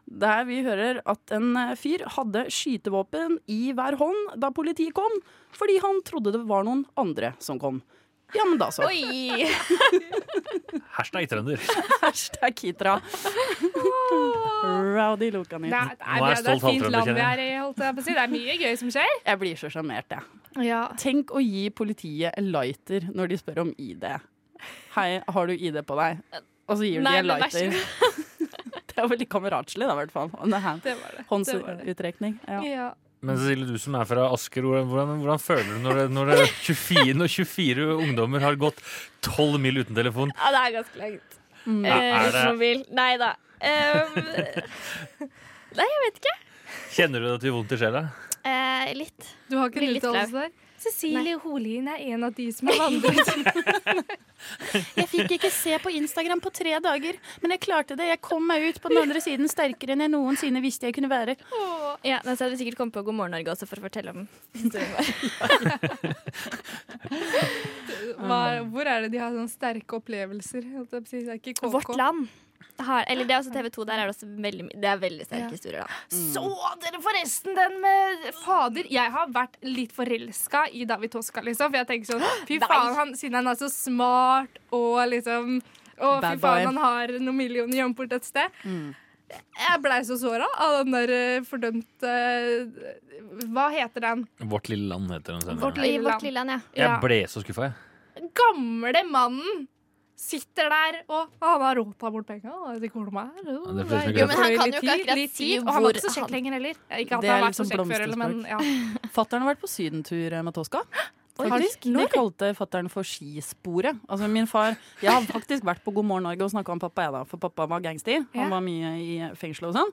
Der vi hører at en fyr hadde skytevåpen i hver hånd da politiet kom, fordi han trodde det var noen andre som kom. Ja, men da så. Oi! Hashtag trønder. Hashtag hitra. Rowdy Loka Det er, Nyheten. det er, Nå er jeg det er, det er et stolt fint halvtrønder, land vi kjenner er i, holdt jeg på å si. Det er mye gøy som skjer. Jeg blir så sjarmert, jeg. Ja. Tenk å gi politiet en lighter når de spør om ID. Hei, har du ID på deg? Og så gir du Nei, dem en men vær så lighter. Det er veldig kameratslig, da, i hvert fall. Og det er Det var det. det, var det. Håndsuttrekning. Ja. Ja. Men Cecilie, du som er fra Asker, hvordan, hvordan, hvordan føler du når, det, når, det 24, når 24 ungdommer har gått 12 mil uten telefon? Ja, det er ganske langt. Mm. Eh, Ja, er det- Oslobil. Nei da. Um, Kjenner du det til vondt i sjela? eh, litt. Du har ikke Blir en litt uttalelse der? Cecilie Holien er en av de som har vandret. Jeg fikk ikke se på Instagram på tre dager, men jeg klarte det. Jeg kom meg ut på den andre siden sterkere enn jeg noensinne visste jeg kunne være. Ja, men så hadde vi sikkert kommet på God morgen Norge også for å fortelle om historien vår. Hva, hvor er det de har sånne sterke opplevelser? holdt jeg på å si? Det er ikke KK. Vårt Land. Har, eller det er også TV 2. Der er det også veldig, my- det er veldig sterke Ja. historier, da. Så dere forresten den med Fader, jeg har vært litt forelska i David Toska, liksom. For jeg tenker sånn, fy faen, han, siden han er så smart og liksom og fy Bad boy. faen, han har noen millioner gjemt bort et sted. Mm. Jeg blei så såra av den der eh, fordømte eh, Hva heter den? Vårt lille land heter den Vårt senere. I lille Vårt land. Lille Land, ja. Ja. Jeg ble så skuffa, jeg. Gamle mannen sitter der, og «Å, han har råta bort penga. Jeg vet ikke hvor de er. Jo, det er flere som ikke jo, vet men det. han kan jo Litt ikke tid, akkurat litt si tid, hvor Og han var ikke så hvor kjekk han- lenger heller. Ikke at Det han er har vært så liksom kjekk før, eller, men ja. Fattern har vært på sydentur med Toska. Faktisk, De kalte fattern for skisporet. Altså min far, Jeg har faktisk vært på God morgen Norge og snakka om pappa, jeg da, for pappa var gangster. Ja. Han var mye i fengsel og sånn.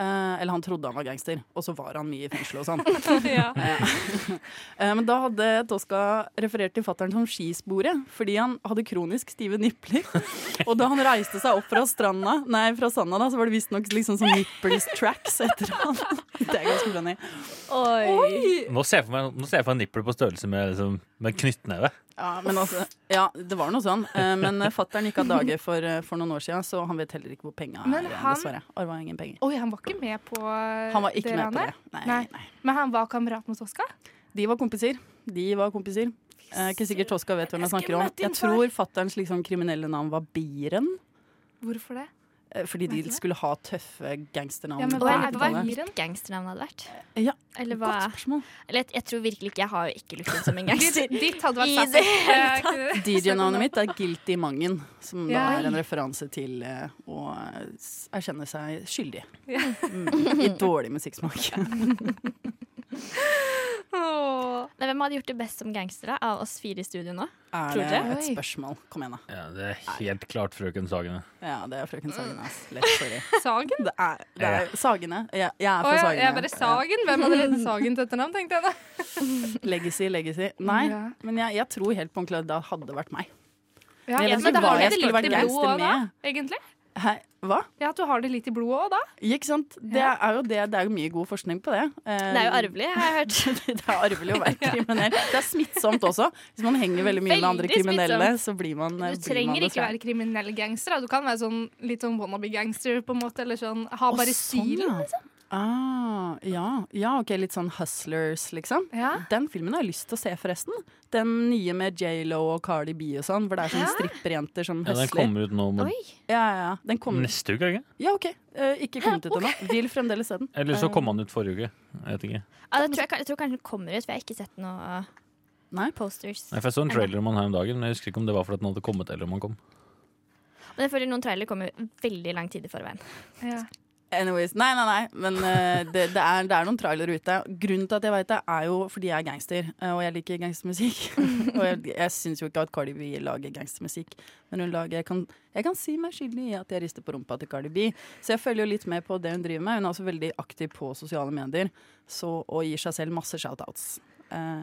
Eh, eller han trodde han var gangster, og så var han mye i fengsel og sånn. Eh, men da hadde Toska referert til fattern som skisporet, fordi han hadde kronisk stive nipler. Og da han reiste seg opp fra stranda, nei, fra sanda da, så var det visstnok liksom sånn nipples tracks etter han. Det er ganske funny. Nå ser jeg for meg, nå ser jeg for meg en nippel på størrelse med, liksom, med knyttneve. Ja, men altså, ja, det var noe sånn. Eh, Men fattern gikk av dage for, eh, for noen år siden, så han vet heller ikke hvor penga er. Men han- Dessverre. Arva ingen penger. Oi, han var ikke med på Han var ikke det med på ranet? det. Nei, Nei. nei. Men han var kamerat med Toska? De var kompiser. De var kompiser. Eh, ikke sikkert Toska vet hvem jeg snakker om. Jeg tror fatterns liksom, kriminelle navn var Biren. Hvorfor det? eh, Fordi de skulle ha tøffe Ja, gangsternavn. men på Og jeg lurer på hva 90-tallet. Viren? mitt gangsternavn hadde vært. Ja, Eller hva Godt spørsmål. Eller jeg, jeg tror virkelig ikke Jeg har jo ikke lukket som en gangster. Ditt, ditt hadde vært I sassy. det Eh, ikke det? DJ-navnet mitt er Guilty Mangen, som da Ja. er en referanse til eh, å s- erkjenne seg skyldig. Mm, I dårlig musikksmak. Åh. Men Hvem hadde gjort det best som gangstere av oss fire i studio nå? Er Tror det dere? et spørsmål? Kom igjen, da. Ja, det er helt klart frøken Sagene. Ja, det er Mm. frøken Sagen. ass. Lett, sorry. Sagen? Det er, det er Sagene. Jeg, jeg er Å fra ja, Sagene. jeg bare Sagen. Hvem hadde reddet Sagen til etternavn, tenkte jeg da. Legacy, legacy. Nei, Ja. men jeg, jeg tror helt på ordentlig at det hadde vært meg. Ja, Jeg vet ikke men da hva har jeg du det skulle litt vært i blodet gangster òg, da? med. Egentlig? Hæ, hva? Ja, at du har det litt i blodet òg, da? Ikke sant? Det er jo det, det er jo mye god forskning på det. Det er jo Eh, arvelig, har jeg hørt. det er arvelig å være kriminell. Det er smittsomt også. Hvis man henger veldig mye med andre Veldig kriminelle, smittsomt. så blir man Du trenger ikke være kriminell gangster. Da. Du kan være sånn, litt sånn wannabe-gangster, på en måte. Eller sånn ha bare stilen. liksom. Ah, ja. ja, ok, litt sånn hustlers, liksom. Den filmen har jeg lyst til å se, forresten. Den nye med J.Lo og Cardi B og sånn, hvor det er sånne stripperjenter som Ja, den Mm. hustler. kommer ut nå om Ja, ja, ja. Den kommer neste uke, er det ikke? Ja, OK. Eh, ikke kommet ut ennå. Vil fremdeles se den. Eller så Eh, kom han ut forrige uke. Jeg vet ikke. Ja, det tror jeg, jeg tror kanskje den kommer ut, for jeg har ikke sett noen posters. Nei, for Jeg så en trailer om han her om dagen, men jeg husker ikke om det var fordi den hadde kommet eller om han kom. Men jeg føler noen trailer kommer veldig lang tid i forveien. Anyways, nei, nei, nei, men eh, det, det, er, det er noen trailere ute. Grunnen til at jeg vet det, er jo fordi jeg er gangster, eh, og jeg liker gangstermusikk. og jeg, jeg syns jo ikke at Cardi B lager gangstermusikk, men hun lager jeg kan, jeg kan si meg skyldig i at jeg rister på rumpa til Cardi B, så jeg følger jo litt med på det hun driver med. Hun er også veldig aktiv på sosiale medier så, og gir seg selv masse shoutouts.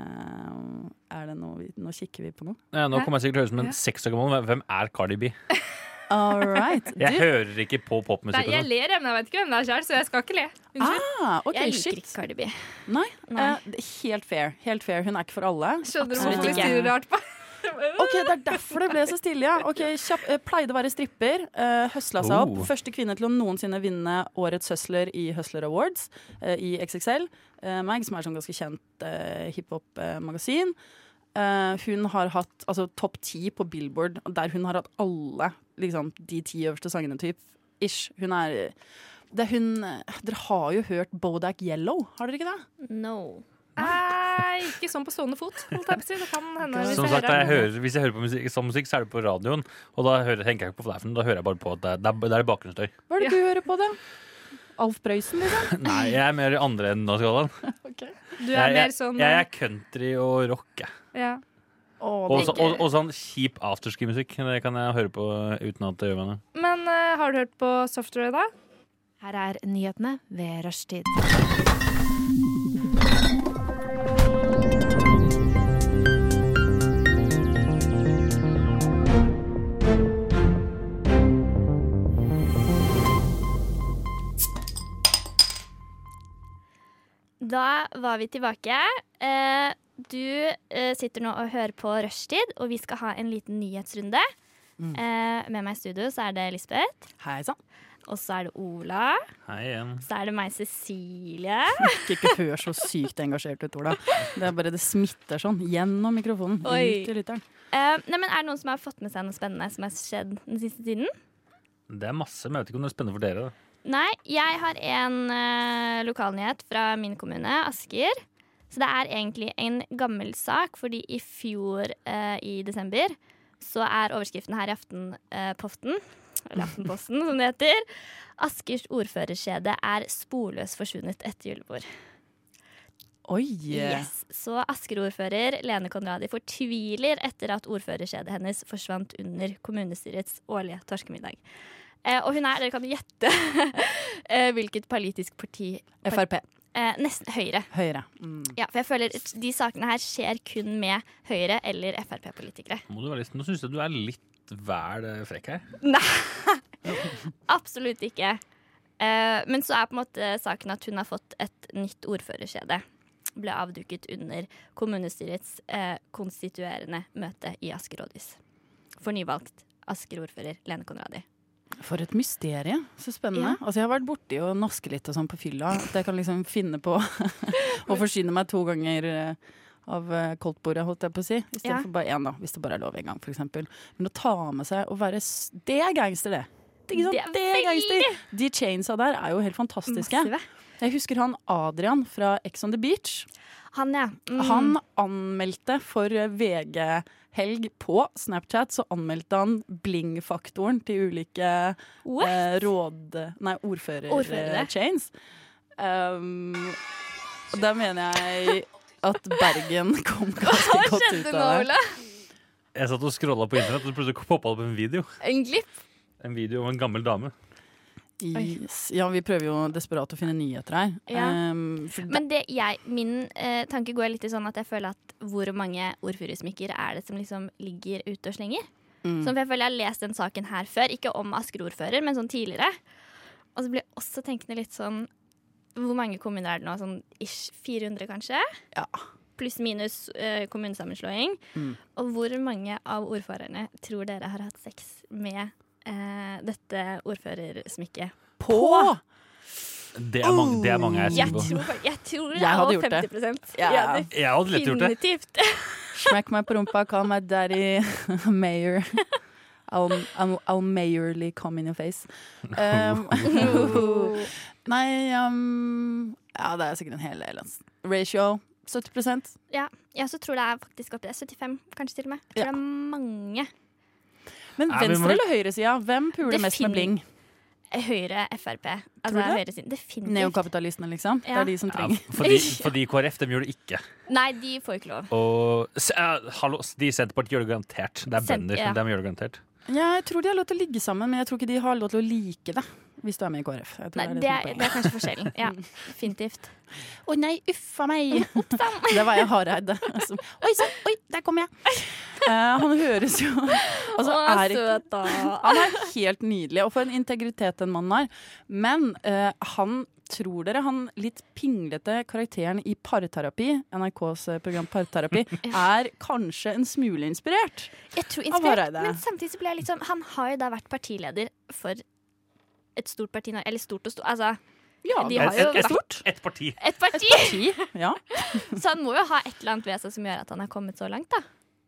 Eh, er det noe vi, Nå kikker vi på noe. Ja, nå kommer jeg sikkert til å høres ut som en seksårsgammel, men hvem er Cardi B? All right. Jeg Du- hører ikke på Nei, popmusikk. og jeg sånn. ler, men jeg vet ikke hvem det er sjøl, så jeg skal ikke le. Unnskyld. Ah, ok, jeg liker shit. ikke Cardi B. Nei, Nei. eh, det er helt fair. Helt fair. Hun er ikke for alle. Skjønner du Absolutt hvorfor vi ikke. stirrer rart på? Ok, Det er derfor det ble så stille, ja. Ok, kjapp, eh, Pleide å være stripper. eh, høsla seg Oh. opp. Første kvinne til å noensinne vinne Årets Hustler i Hustler Awards eh, i XXL. Eh, Mag, som er sånn ganske kjent eh, hiphop-magasin. Eh, hun har hatt altså, topp ti på Billboard, der hun har hatt alle liksom, de ti øverste sangene typ, ish. Hun er det er hun, eh, Dere har jo hørt Bodak Yellow, har dere ikke det? No. Nei, ikke sånn på stående fot. Holdt jeg på å si. Det kan hende. hvis Som sånn sagt, hører jeg noe. hører, Hvis jeg hører på musikk, sånn musikk, så er det på radioen. Og da hører, tenker jeg ikke på hva det er for noe, da hører jeg bare på at det er, det er- det er bakgrunnsstøy. Hva er det du hører på, da? Alf Prøysen, liksom? Nei, jeg er mer i andre enden av skalaen. Du Jeg- jeg- er mer sånn eh, Jeg er country og rock, jeg. ja. Og, så, og, og sånn kjip afterski-musikk. Det kan jeg høre på uten at det gjør meg noe. Men eh, har du hørt på Software, da? Her er nyhetene ved rushtid. Da var vi tilbake. Eh, du eh, sitter nå og hører på Rushtid, og vi skal ha en liten nyhetsrunde. Mm. Eh, med meg i studio så er det Lisbeth. Hei sann. Og så er det Ola. Hei igjen. Så er det meg, Cecilie. Ikke, ikke hør så sykt engasjert ut, Ola. Det er bare det smitter sånn. Gjennom mikrofonen. Oi. Ut til lytteren. Eh, nei, men er det noen som har fått med seg noe spennende som har skjedd den siste tiden? Det er masse, men jeg vet ikke om det er spennende for dere. Da. Nei, jeg har en eh, lokalnyhet fra min kommune, Asker. Så det er egentlig en gammel sak, fordi i fjor eh, i desember så er overskriften her i Aftenposten, eller Aftenposten som det heter, Askers ordførerskjede er sporløs forsvunnet etter julebord. Oi! Yes. Så Asker-ordfører Lene Konradi fortviler etter at ordførerskjedet hennes forsvant under kommunestyrets årlige torskemiddag. Eh, og hun er, dere kan jo gjette eh, hvilket politisk parti Frp. Eh, nesten Høyre. Høyre. Mm. Ja, for jeg føler de sakene her skjer kun med Høyre- eller Frp-politikere. Må du være litt, nå syns jeg du er litt vel eh, frekk her. Absolutt ikke. Eh, men så er på en måte saken at hun har fått et nytt ordførerskjede. Ble avduket under kommunestyrets eh, konstituerende møte i Asker rådhus. For nyvalgt Asker-ordfører Lene Konradi. For et mysterium. Så spennende. Altså, jeg har vært borti å naske litt og sånn på fylla. At jeg kan liksom finne på å forsyne meg to ganger eh, av eh, koldtbordet, holdt jeg på å si. I stedet Ja. for bare én, da. Hvis det bare er lov én gang, for eksempel. Men å ta med seg og være s Det er gangster, det. Det er, ikke Det sant? er Det er gangster. De chainsa der er jo helt fantastiske. Massive. Jeg husker han Adrian fra Ex on the Beach. Han, ja. Mm. Han anmeldte for VG-helg på Snapchat, så anmeldte han bling-faktoren til ulike eh, råd... Nei, eh, Ordførere. ordfører-chains. Um, og da mener jeg at Bergen kom ganske Hva godt skjedde ut av nå, det. Ola? Jeg satt og scrolla på internett, og så plutselig poppa det opp en video. En glipp? En video av en gammel dame. Yes. Ja, vi prøver jo desperat å finne nyheter her. Ja. Ehm, for Men det jeg, min eh, tanke går litt i sånn at jeg føler at hvor mange ordfurusmykker er det som liksom ligger ute og slenger? Mm. Så Sånn, jeg føler jeg har lest den saken her før, ikke om Asker-ordfører, men sånn tidligere. Og så blir jeg også tenkende litt sånn Hvor mange kommuner er det nå? Sånn ish 400, kanskje? Pluss minus eh, kommunesammenslåing. Mm. Og hvor mange av ordførerne tror dere har hatt sex med eh, dette ordførersmykket? På! Det er mange, det er mange jeg er Jeg sikker tror, på. fak- jeg tror det Jeg er hadde over gjort det. 50 Ja. Jeg hadde lett gjort det. Definitivt. Smekk meg på rumpa, call meg daddy, mayor. I'll, I'll, I'll mayorly come in your face. Um, nei, um, ja, det er sikkert en hel del. ass. Ratio 70 Ja, jeg også tror det er faktisk opp til 75, kanskje til og med. Jeg tror det er mange. Men Ja, vi må- venstre- eller høyresida, hvem puler Det mest med fin- bling? Høyre, Frp. Tror du Altså, det? høyresiden. Definitivt. Neokapitalistene, liksom. Det Ja. er de som Ja, trenger fordi, fordi KrF, dem gjør det ikke. Nei, de får ikke lov. Og s- eh, hallo, de i Senterpartiet gjør det garantert. Det er Sent- bønder. ja. Dem gjør det garantert. Ja, jeg tror de har lov til å ligge sammen, men jeg tror ikke de har lov til å like det. Hvis du er med i KrF. Jeg tror Nei, det, det, som er, poenget. det er kanskje forskjellen. Ja, definitivt. Å nei, uffa meg. Det var jeg Hareide. som- Oi sånn. sann, oi, der kommer jeg. Eh, han høres jo altså, Å, er ikke- søt da. Han er helt nydelig, og for en integritet den mannen har. Men eh, han Tror dere han litt pinglete karakteren i Parterapi, NRKs eh, program Parterapi, er kanskje en smule inspirert? Jeg tror Av inspirert, Hareide. men samtidig så ble jeg litt sånn Han har jo da vært partileder for et stort parti nå. Eller stort og stort. Altså, de har jo et, vært et, et parti. et parti. Ja. Så han må jo ha et eller annet ved seg som gjør at han har kommet så langt, da.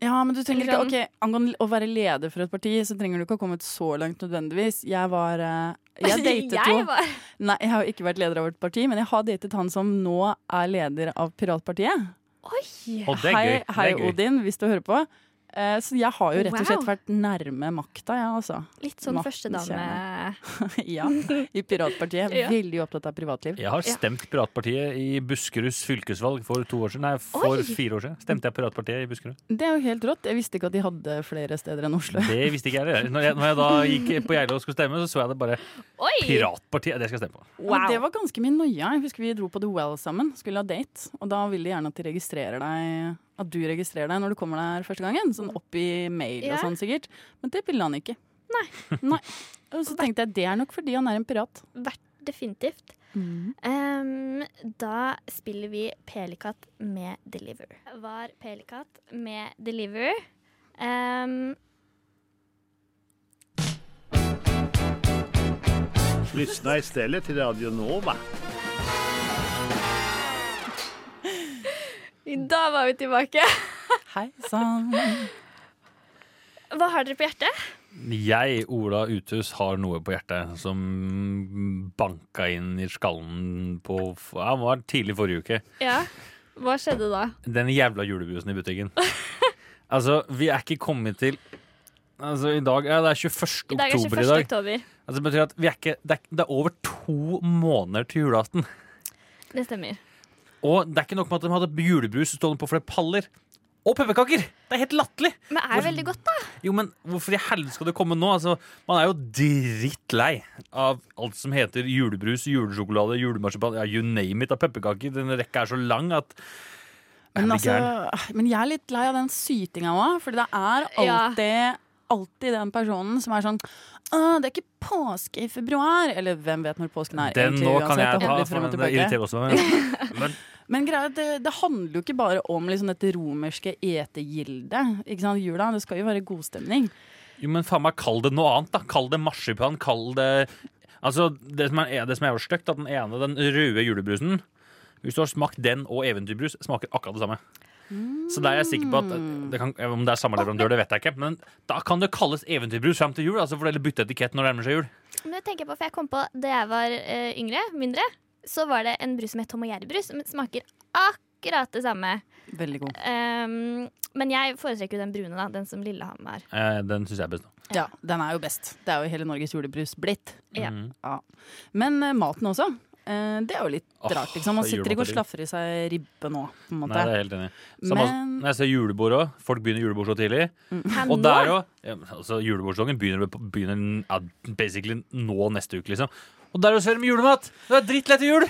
Ja, men du trenger Eller ikke, sånn- ok, Angående å være leder for et parti, så trenger du ikke ha kommet så langt nødvendigvis. Jeg var eh, Jeg datet Jeg jo var- Nei, jeg har jo ikke vært leder av vårt parti, men jeg har datet han som nå er leder av Piratpartiet. Og det er hei, gøy. Det er hei gøy. Odin, hvis du hører på. Eh, så jeg har jo rett og slett Wow. vært nærme makta, jeg, altså. Litt sånn Maktens førstedame kjerne. ja. I Piratpartiet. Ja. Veldig opptatt av privatliv. Jeg har stemt Piratpartiet i Buskeruds fylkesvalg for to år siden. Nei, for Oi! fire år siden. Stemte jeg Piratpartiet i Buskerud? Det er jo helt rått. Jeg visste ikke at de hadde flere steder enn Oslo. Det visste ikke jeg heller. Når jeg, når jeg da gikk på Geilo og skulle stemme, så så jeg det bare Oi! Piratpartiet, det skal jeg stemme på. Ja, Men det var ganske mye noia. Jeg husker vi dro på The Well sammen, skulle ha date. Og da vil de gjerne at de registrerer deg At du registrerer deg når du kommer der første gangen. Sånn opp i mail Ja. og sånn sikkert. Men det ville han ikke. Nei. Og så tenkte jeg det er nok fordi han er en pirat. Vært definitivt. Mm. Ehm, da spiller vi Pelikat med Deliver. Var Pelikat med Deliver. Ehm, Lyssna istället till Radio Nova. da var vi tilbake. Hei sann. Hva har dere på hjertet? Jeg, Ola Uthus, har noe på hjertet som banka inn i skallen på ja, Det var tidlig forrige uke. Ja. Hva skjedde da? Den jævla julebrusen i butikken. altså, vi er ikke kommet til Altså, i dag Ja, det er 21. I dag er oktober i 21. dag. oktober. Altså, det betyr at vi er ikke det er, det er over to måneder til julaften. Det stemmer. Og det er ikke nok med at de hadde julebrus stående på flere paller. Og pepperkaker! Det er helt latterlig! Men er det veldig godt, da? Jo, men hvorfor i helvete skal det komme nå? Altså, man er jo drittlei av alt som heter julebrus, julesjokolade, julemarsipan, ja, you name it, av pepperkaker. Den rekka er så lang at Er Men, du altså, gæren? men jeg er litt lei av den sytinga òg, for det er alltid Alltid den personen som er sånn Å, det er ikke påske i februar! Eller hvem vet når påsken er. Den egentlig, nå kan uansett, jeg det ta, holder frem for og det tilbake. irriterer også meg. Men Men greia, er at det, det handler jo ikke bare om liksom dette romerske etegildet. Ikke sant? Jula, det skal jo være godstemning. Jo, men faen meg, kall det noe annet, da. Kall det marsipan, kall det Altså, det som er, det som er jo stygt, at den ene, den røde julebrusen Hvis du har smakt den og eventyrbrus, smaker akkurat det samme. Så der er jeg sikker på at det kan, Om det er samme leverandør, det vet jeg ikke. Men da kan det kalles eventyrbrus fram til jul. Altså for å bytte etikett når det nærmer seg jul. Men det tenker jeg på, for jeg kom på da jeg var eh, yngre, mindre, så var det en brus som het Tom og Jerry-brus, som smaker akkurat det samme. Veldig god. Ehm, men jeg foretrekker jo den brune, da. Den som Lillehammer. Eh, den syns jeg er best nå. Ja, den er jo best. Det er jo hele Norges julebrus blitt. Ja. Mhm. Ja. Men eh, maten også. Eh, det er jo litt Åh, rart, liksom. Man sitter ikke og julemateri. slaffer i seg ribbe nå, på en måte. Nei, det er jeg helt enig. i. Samme Men- når jeg ser julebord òg. Folk begynner julebord så tidlig. Hæ, Og nå? der òg. Ja, men altså, Julebordsesongen begynner, begynner ja, basically nå neste uke, liksom. Og der òg ser de julemat! Det er drittlett til jul!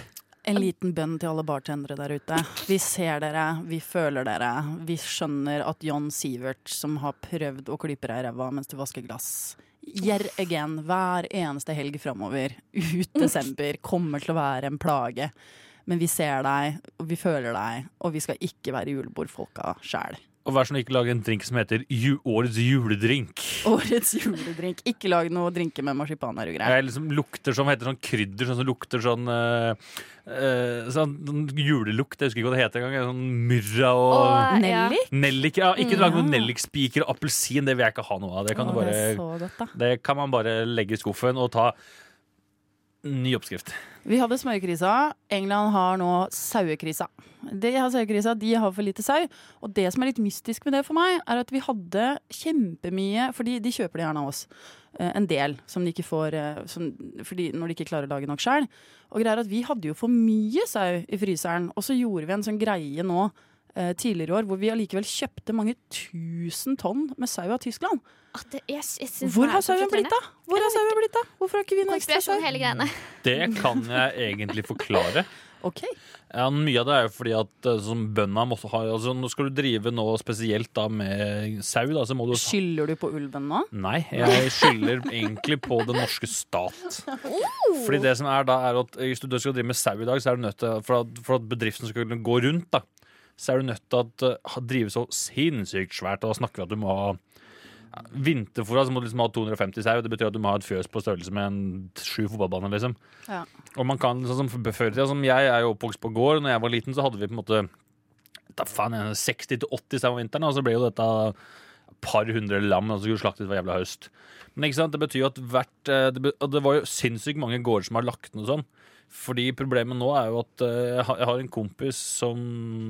En liten bønn til alle bartendere der ute. Vi ser dere, vi føler dere. Vi skjønner at John Sivert, som har prøvd å klype deg i ræva mens du vasker glass Gjør again hver eneste helg framover ut desember kommer til å være en plage. Men vi ser deg, og vi føler deg, og vi skal ikke være julebordfolka sjæl. Og vær så snill ikke lage en drink som heter ju Årets juledrink. Årets juledrink. Ikke lag noe drinker med marsipan er du grei. Jeg liksom lukter som heter sånn krydder, sånn som lukter sånn, eh, eh, sånn sånn julelukt. Jeg husker ikke hva det heter engang. Sånn myrra og Åh, ja. Nellik? Nellik, ja. Ikke lag noe Mm. nellikspiker og appelsin. Det vil jeg ikke ha noe av. Det kan, Åh, du bare, det er så godt, da. det kan man bare legge i skuffen og ta ny oppskrift. Vi hadde smørkrisa. England har nå sauekrisa. De har sauekrisa, de har for lite sau. Og det som er litt mystisk med det for meg, er at vi hadde kjempemye Fordi de kjøper det gjerne av oss. Eh, En del som de ikke får eh, som, fordi når de ikke klarer å lage nok sjøl. Og greia er at vi hadde jo for mye sau i fryseren. Og så gjorde vi en sånn greie nå eh, tidligere i år hvor vi allikevel kjøpte mange tusen tonn med sau av Tyskland. Hvor har sauen blitt av? Hvor har sauen blitt av? Hvorfor har ikke vi noe ekstra sau? Konspirasjon sånn hele greiene. Det kan jeg egentlig forklare. Ok. Ja, mye av det er jo fordi at eh, sånn bøndene må også ha altså, Nå skal du drive nå spesielt da med sau, da, så må du Skylder du på ulven nå? Nei, jeg skylder egentlig på den norske stat. Fordi det som er da, er at eh, hvis du skal drive med sau i dag, så er du nødt til, for at, for at bedriften skal kunne gå rundt, da, så er du nødt til at eh, ha- drive så sinnssykt svært, og da snakker vi at du må ha ja, Vinterfôra så må du liksom ha 250 sau. Det betyr at du må ha et fjøs på størrelse med en sju fotballbaner. Liksom. Ja. Og man kan, sånn som før i tida, som jeg er jo oppvokst på gård, når jeg var liten, så hadde vi på en måte da faen, 60-80 sau om vinteren, og så ble jo dette et par hundre lam som skulle slaktes hver jævla høst. Men ikke sant, det betyr jo at hvert eh, Det, be, og det var jo sinnssykt mange gårder som har lagt ned sånn. Fordi problemet nå er jo at eh, jeg har- jeg har en kompis som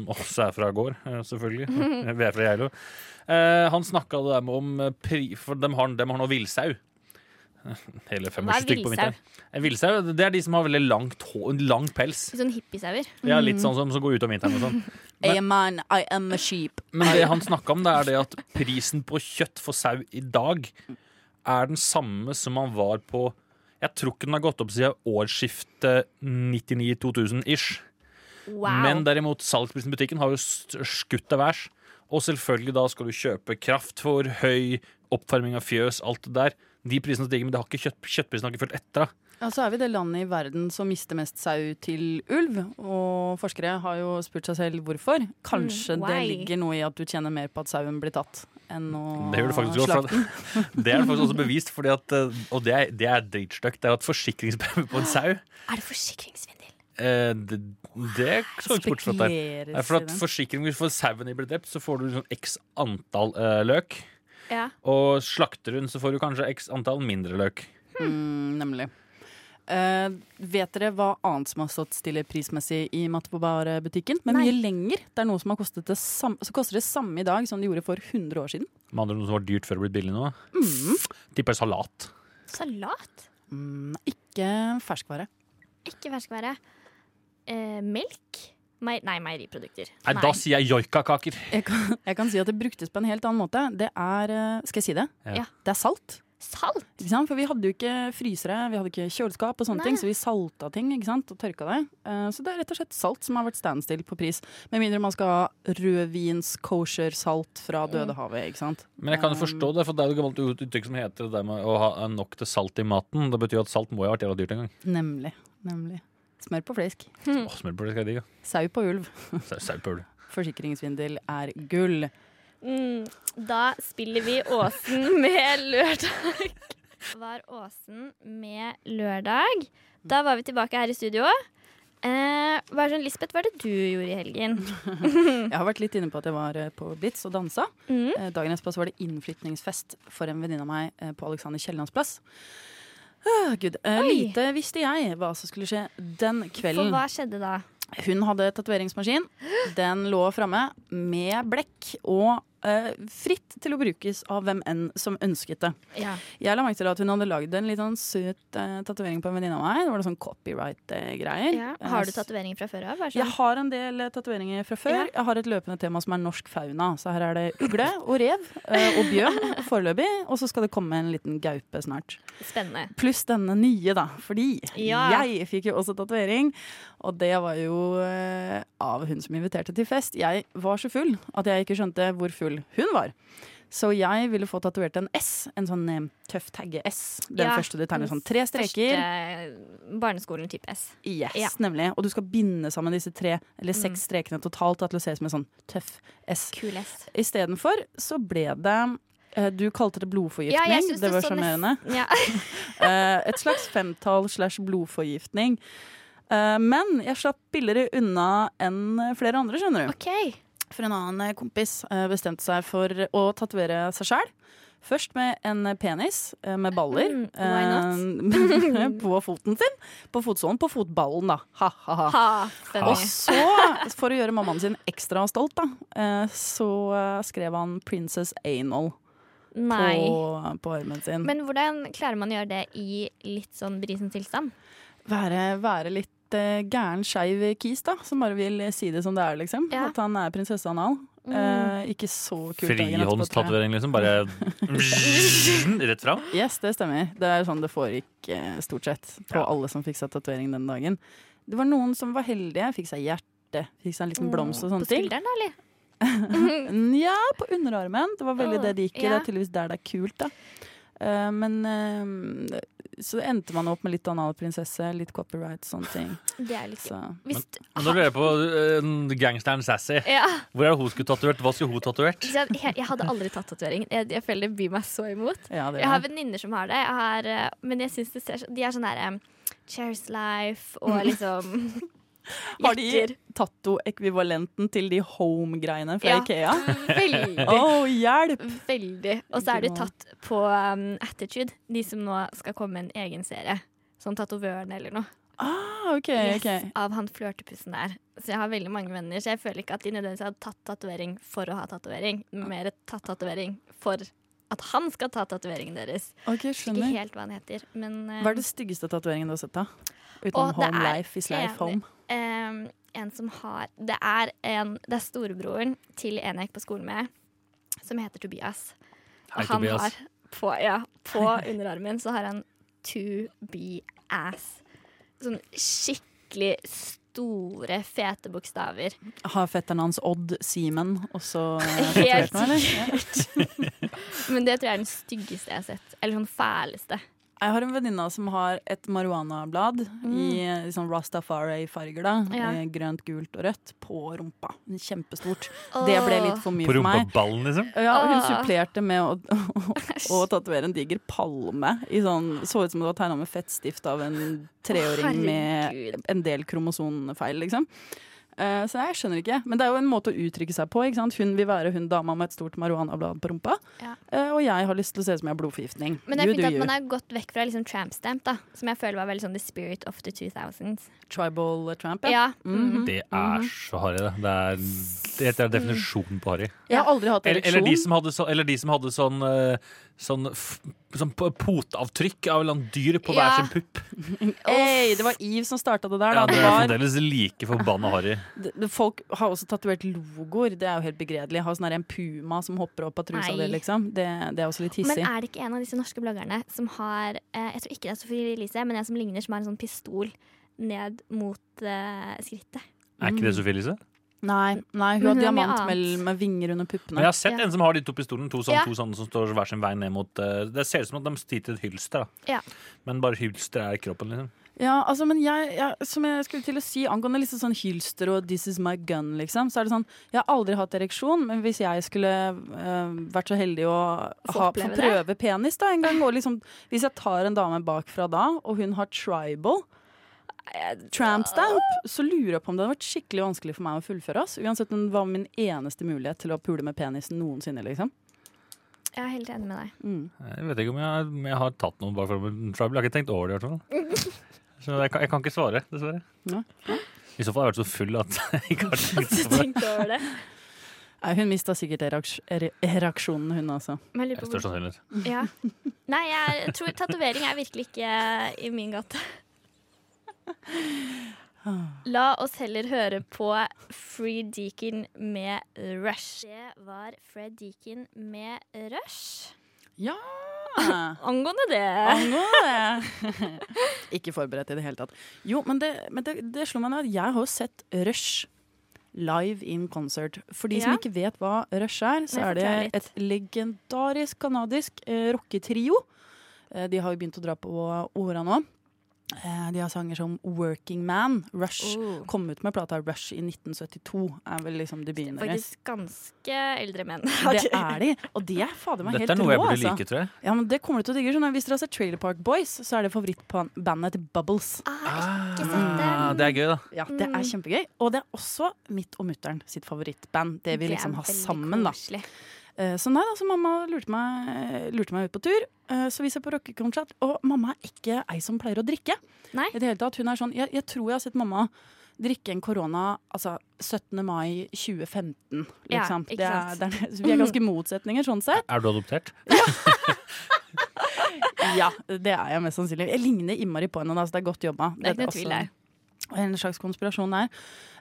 også er fra gård, eh, selvfølgelig. Vi er fra Geilo. Eh, Han snakka det der med om eh, pri... For dem har, dem har nå villsau. Eh, Hele fem Hva er stykker på villsau? vinteren. Eh, Villsau det er de som har veldig langt, hår- lang pels. Sånn hippiesauer. Ja, litt sånn som som går ut om vinteren og sånn. I am man, I am a sheep. Men det han snakka om, det er det at prisen på kjøtt for sau i dag er den samme som han var på Jeg tror ikke den har gått opp siden årsskiftet 99-2000-ish. Wow. Men derimot, salgsprisen i butikken har jo s- skutt til værs. Og selvfølgelig da skal du kjøpe kraftfôr, høy, oppvarming av fjøs, alt det der. De prisene stiger, men det har ikke kjøtt, kjøttprisen har ikke fulgt etter. da. Ja, så er vi det landet i verden som mister mest sau til ulv. Og forskere har jo spurt seg selv hvorfor. Kanskje Mm, det why? ligger noe i at du tjener mer på at sauen blir tatt, enn å Det gjør det faktisk godt. slakte den. For at- det er det faktisk også bevist, fordi at, eh, og det er, det er dritstygt. Det er at forsikringspremie på en sau Er det forsikringssvindel? Eh, det, det så ikke bort fra at det er. Spekuleres Nei, For i at den. forsikring Hvis for sauen din blir drept, så får du sånn x antall eh, løk. Ja. Og slakter hun, så får du kanskje x antall mindre løk. Mm, nemlig. Eh, vet dere hva annet som har stått stille prismessig i Matbobare-butikken? Men mye lenger. Det er noe som har kostet det samme, så koster det samme i dag som det gjorde for 100 år siden. Med andre ord noe som var dyrt før det ble billig nå. Mm. Tipper salat. Salat? Mm, ikke ferskvare. Ikke ferskvære. Eh, melk? Mei nei, meieriprodukter. Nei, da sier jeg joikakaker. Jeg kan, jeg kan si at det bruktes på en helt annen måte. Det er eh, Skal jeg si det? Ja. Ja. Det er salt. Salt? Ikke sant? For vi hadde jo ikke frysere, vi hadde ikke kjøleskap, og sånne Nei. ting, så vi salta ting ikke sant? og tørka det. Eh, så det er rett og slett salt som har vært standstill på pris. Med mindre man skal ha rødvins-kosher-salt fra Dødehavet. ikke sant? Men jeg kan jo forstå Um. det, for det er jo et gammelt uttrykk som heter det der med å ha nok til salt i maten. Det betyr jo at salt må jo ha vært jævla dyrt en gang. Nemlig. nemlig. Smør på flesk. Mm. Åh, smør på det skal jeg digge. Sau på ulv. Sau- Sau på ull. Forsikringssvindel er gull. Mm, da spiller vi Åsen med lørdag. Var Åsen med lørdag. Da var vi tilbake her i studio. Eh, hva er sånn, Lisbeth, hva er det du gjorde i helgen? Jeg har vært litt inne på at jeg var eh, på Blitz og dansa. Mm. Eh, Dagen etterpå så var det innflytningsfest for en venninne av meg eh, på Alexander Kiellands plass. Ah, Gud. Eh, Lite visste jeg hva som skulle skje den kvelden. For hva skjedde da? Hun hadde tatoveringsmaskin. Den lå framme med blekk og eh, fritt til å brukes av hvem enn som ønsket det. Ja. Jeg la merke til at hun hadde lagd en litt sånn søt uh, tatovering på en venninne av meg. Det var noe sånn copyright-greier. Eh, Ja. Har du tatoveringer fra før av? Er det sånn? Jeg har en del eh, tatoveringer fra før. Ja. Jeg har et løpende tema som er norsk fauna. Så her er det ugle og rev eh, og bjørn foreløpig. Og så skal det komme en liten gaupe snart. Spennende. Pluss denne nye, da. Fordi Ja. jeg fikk jo også tatovering. Og det var jo eh, av hun som inviterte til fest. Jeg var så full at jeg ikke skjønte hvor full hun var. Så jeg ville få tatovert en S, en sånn eh, tøff tagge S. Den Ja, første du tegner den sånn tre streker. Første barneskolen type S. Yes, Ja. nemlig. Og du skal binde sammen disse tre, eller seks Mm. strekene totalt da, til å se ut som en sånn tøff S. Kul S. Istedenfor så ble det eh, Du kalte det blodforgiftning. Ja, jeg synes det det var så sjarmerende. nesten- ja. Eh, Et slags femtall slash blodforgiftning. Eh, Men jeg slapp billigere unna enn flere andre, skjønner du. For en annen kompis eh, bestemte seg for å tatovere seg sjæl. Først med en penis eh, med baller Mm, why eh, på foten sin. På fotsålen. På fotballen, da. Ha-ha-ha. Ha, funny. Og så, for å gjøre mammaen sin ekstra stolt, da, eh, så eh, skrev han 'Princess Anal' Nei. på, på armen sin. Men hvordan klarer man å gjøre det i litt sånn brisen tilstand? være, være litt eh, gæren, skeiv kis, da. Som bare vil si det som det er, liksom. At han er prinsesse anal. Mm. Eh, ikke så kult. dagen etterpå, tror jeg. Frihåndstatovering, liksom. Bare rett fram. Yes, det stemmer. Det er jo sånn det foregikk eh, stort sett på alle som fikk seg tatovering den dagen. Det var noen som var heldige, fikk seg hjerte, fikk seg en liten blomst og sånne Mm. På ting. skulderen, da, eller? Nja, på underarmen. Det var veldig Åh, det de gikk i. ja. Det er tydeligvis der det er kult, da. Eh, men eh, så endte man opp med litt analprinsesse, litt copyright, sånne ting. Det er litt Så. Hvis, Men da lurer jeg på eh, gangsteren Sassy. Ja. Hvor er det hun skulle tatovert? Hva skulle hun tatovert? Så jeg, jeg hadde aldri tatt tatovering. Jeg, jeg føler det byr meg så imot. Ja, det gjør jeg har det. venninner som har det, jeg har, eh, men jeg syns det ser så De er sånn derre Chairs Life og liksom Har de tatto-ekvivalenten til de home-greiene fra Ja, Ikea? veldig. Åh, hjelp! Veldig. Og så er det Ikke tatt på um, Attitude, de som nå skal komme med en egen serie. Sånn tatovørene eller noe. Ah, ok, ok. Av han flørtepussen der. Så jeg har veldig mange venner, så jeg føler ikke at de nødvendigvis har tatt tatovering for å ha tatovering. Mer tatt tatovering for at han skal ta tatoveringen deres. Ok, Jeg husker skjønner. Ikke helt hva han heter, men um, Hva er den styggeste tatoveringen du har sett, da? Utenom og det Home er Life is Life en- Home. em, en som har Det er, en, det er storebroren til en jeg gikk på skolen med, som heter Tobias. Hei, Og han Tobias. har på, ja, på underarmen så har han to be ass. Sånn skikkelig store, fete bokstaver. Har fetteren hans Odd Simen også eh, tatovert Helt noe, eller? sikkert. Men det tror jeg er den styggeste jeg har sett. Eller sånn fæleste. Jeg har en venninne som har et marihuanablad i, eh, sånn Rastafari-farger. da Mm. Ja. eh, Grønt, gult og rødt på rumpa. Kjempestort. Åh. Det ble litt for mye På for meg. rumpeballen, liksom? Ja, og hun Åh. supplerte med å, å, å tatovere en diger palme. I sånn, så ut som det var tegna med fettstift av en treåring Å, herregud. med en del kromosonfeil, liksom. Eh, så jeg skjønner ikke. Men det er jo en måte å uttrykke seg på. ikke sant? Hun vil være hun dama med et stort marihuanablad på rumpa. Ja. Eh, og jeg har lyst til å se ut som jeg har blodforgiftning. Men det er You fint do at you. man har gått vekk fra liksom tramp stamp, da, som jeg føler var veldig sånn the spirit of the 2000s. Tribal eh, tramp, Ja. Mm. Mhm. Det er så harry, det. Det er, det er definisjonen på harry. Jeg har aldri hatt Eller, ereksjon. eller, de som hadde så, eller de som hadde sånn, eh, sånn, f- sånn p- poteavtrykk av en eller annen dyr på hver Ja. sin pupp. Hey, det var Eve som starta det der. Ja, Da. det Det er var fremdeles like forbanna harry. D- d- Folk har også tatovert logoer. Det er jo helt begredelig. Ha sånn her en puma som hopper opp av trusa Nei. di, liksom. Det, det er også litt Men hissig. er det ikke en av disse norske bloggerne som har eh, Jeg tror ikke det er Sofie Elise, men en som ligner, som har en sånn pistol ned mot eh, skrittet. Er ikke det liksom? Sofie Elise? Mm. Nei, nei, hun har Men hun har mye diamant annet. med, med vinger under puppene. Men jeg har sett en som har de to pistolene. To sånne, Ja. to sånne som står hver sin vei ned mot eh, Det ser ut som at de sier til et hylster, da. Ja. Men bare hylster er kroppen, liksom. Ja, altså, men jeg, jeg, som jeg skulle til å si angående liksom sånn hylster og 'this is my gun', liksom, så er det sånn Jeg har aldri hatt ereksjon, men hvis jeg skulle øh, vært så heldig å Få ha, få oppleve det. prøve penis da en gang, og liksom Hvis jeg tar en dame bakfra da, og hun har tribal Tramp stamp, så lurer jeg på om det hadde vært skikkelig vanskelig for meg å fullføre. Ass. Uansett om det var min eneste mulighet til å pule med penisen noensinne, liksom. Mm. Jeg er helt enig med deg. Jeg vet ikke om jeg, om jeg har tatt noen bare for tribal. Jeg har ikke tenkt over det, i hvert fall. Så jeg kan, jeg kan ikke svare, dessverre. Nei. I så fall har jeg vært så full at jeg ikke har tenkt Du over det. tenkte over det. Nei, Hun mista sikkert eraks- er- ereksjonen, hun altså. også. Men jeg lurer på hvor- Størst sannsynlighet. Ja. Nei, jeg tror tatovering er virkelig ikke i min gate. La oss heller høre på Free Deacon med Rush. Det var Fred Deacon med Rush. Ja! Angående det. Ah, Angående det. Ikke forberedt i det hele tatt. Jo, men det, men det, det slo meg nå at jeg har jo sett Rush live in concert. For de som Ja. ikke vet hva Rush er, så Nei, er det forklar litt. et legendarisk kanadisk eh, rocketrio. Eh, de har jo begynt å dra på åra nå. Eh, de har sanger som Working Man, Rush. Oh. Kom ut med plata Rush i 1972, er vel liksom debuten deres. Faktisk ganske eldre menn. Det er de, og de er fader meg Dette helt er noe jeg rå, burde altså. like, tror jeg. Ja, men det kommer du til å digge. Sånn. at Hvis dere har sett Trailer Park Boys, så er det favorittbandet til Bubbles. Ah, det er gøy, da. Ja, Det er kjempegøy. Og det er også mitt og mutter'n sitt favorittband. Det vi Det er liksom har veldig sammen, da. koselig. Eh, Så nei da, så mamma lurte meg, lurte meg ut på tur. Eh, Så vi ser på rockekonsert, og mamma er ikke ei som pleier å drikke. I det hele tatt, hun er sånn, jeg, jeg tror jeg har sett mamma drikke en korona altså 17. mai 2015, Ja, liksom. ikke det er, sant. det er, så vi er ganske motsetninger sånn sett. Er du adoptert? Ja, det er jeg mest sannsynlig. Jeg ligner innmari på henne, da, så det er godt jobba. Det er ikke noe tvil der. også En slags konspirasjon der.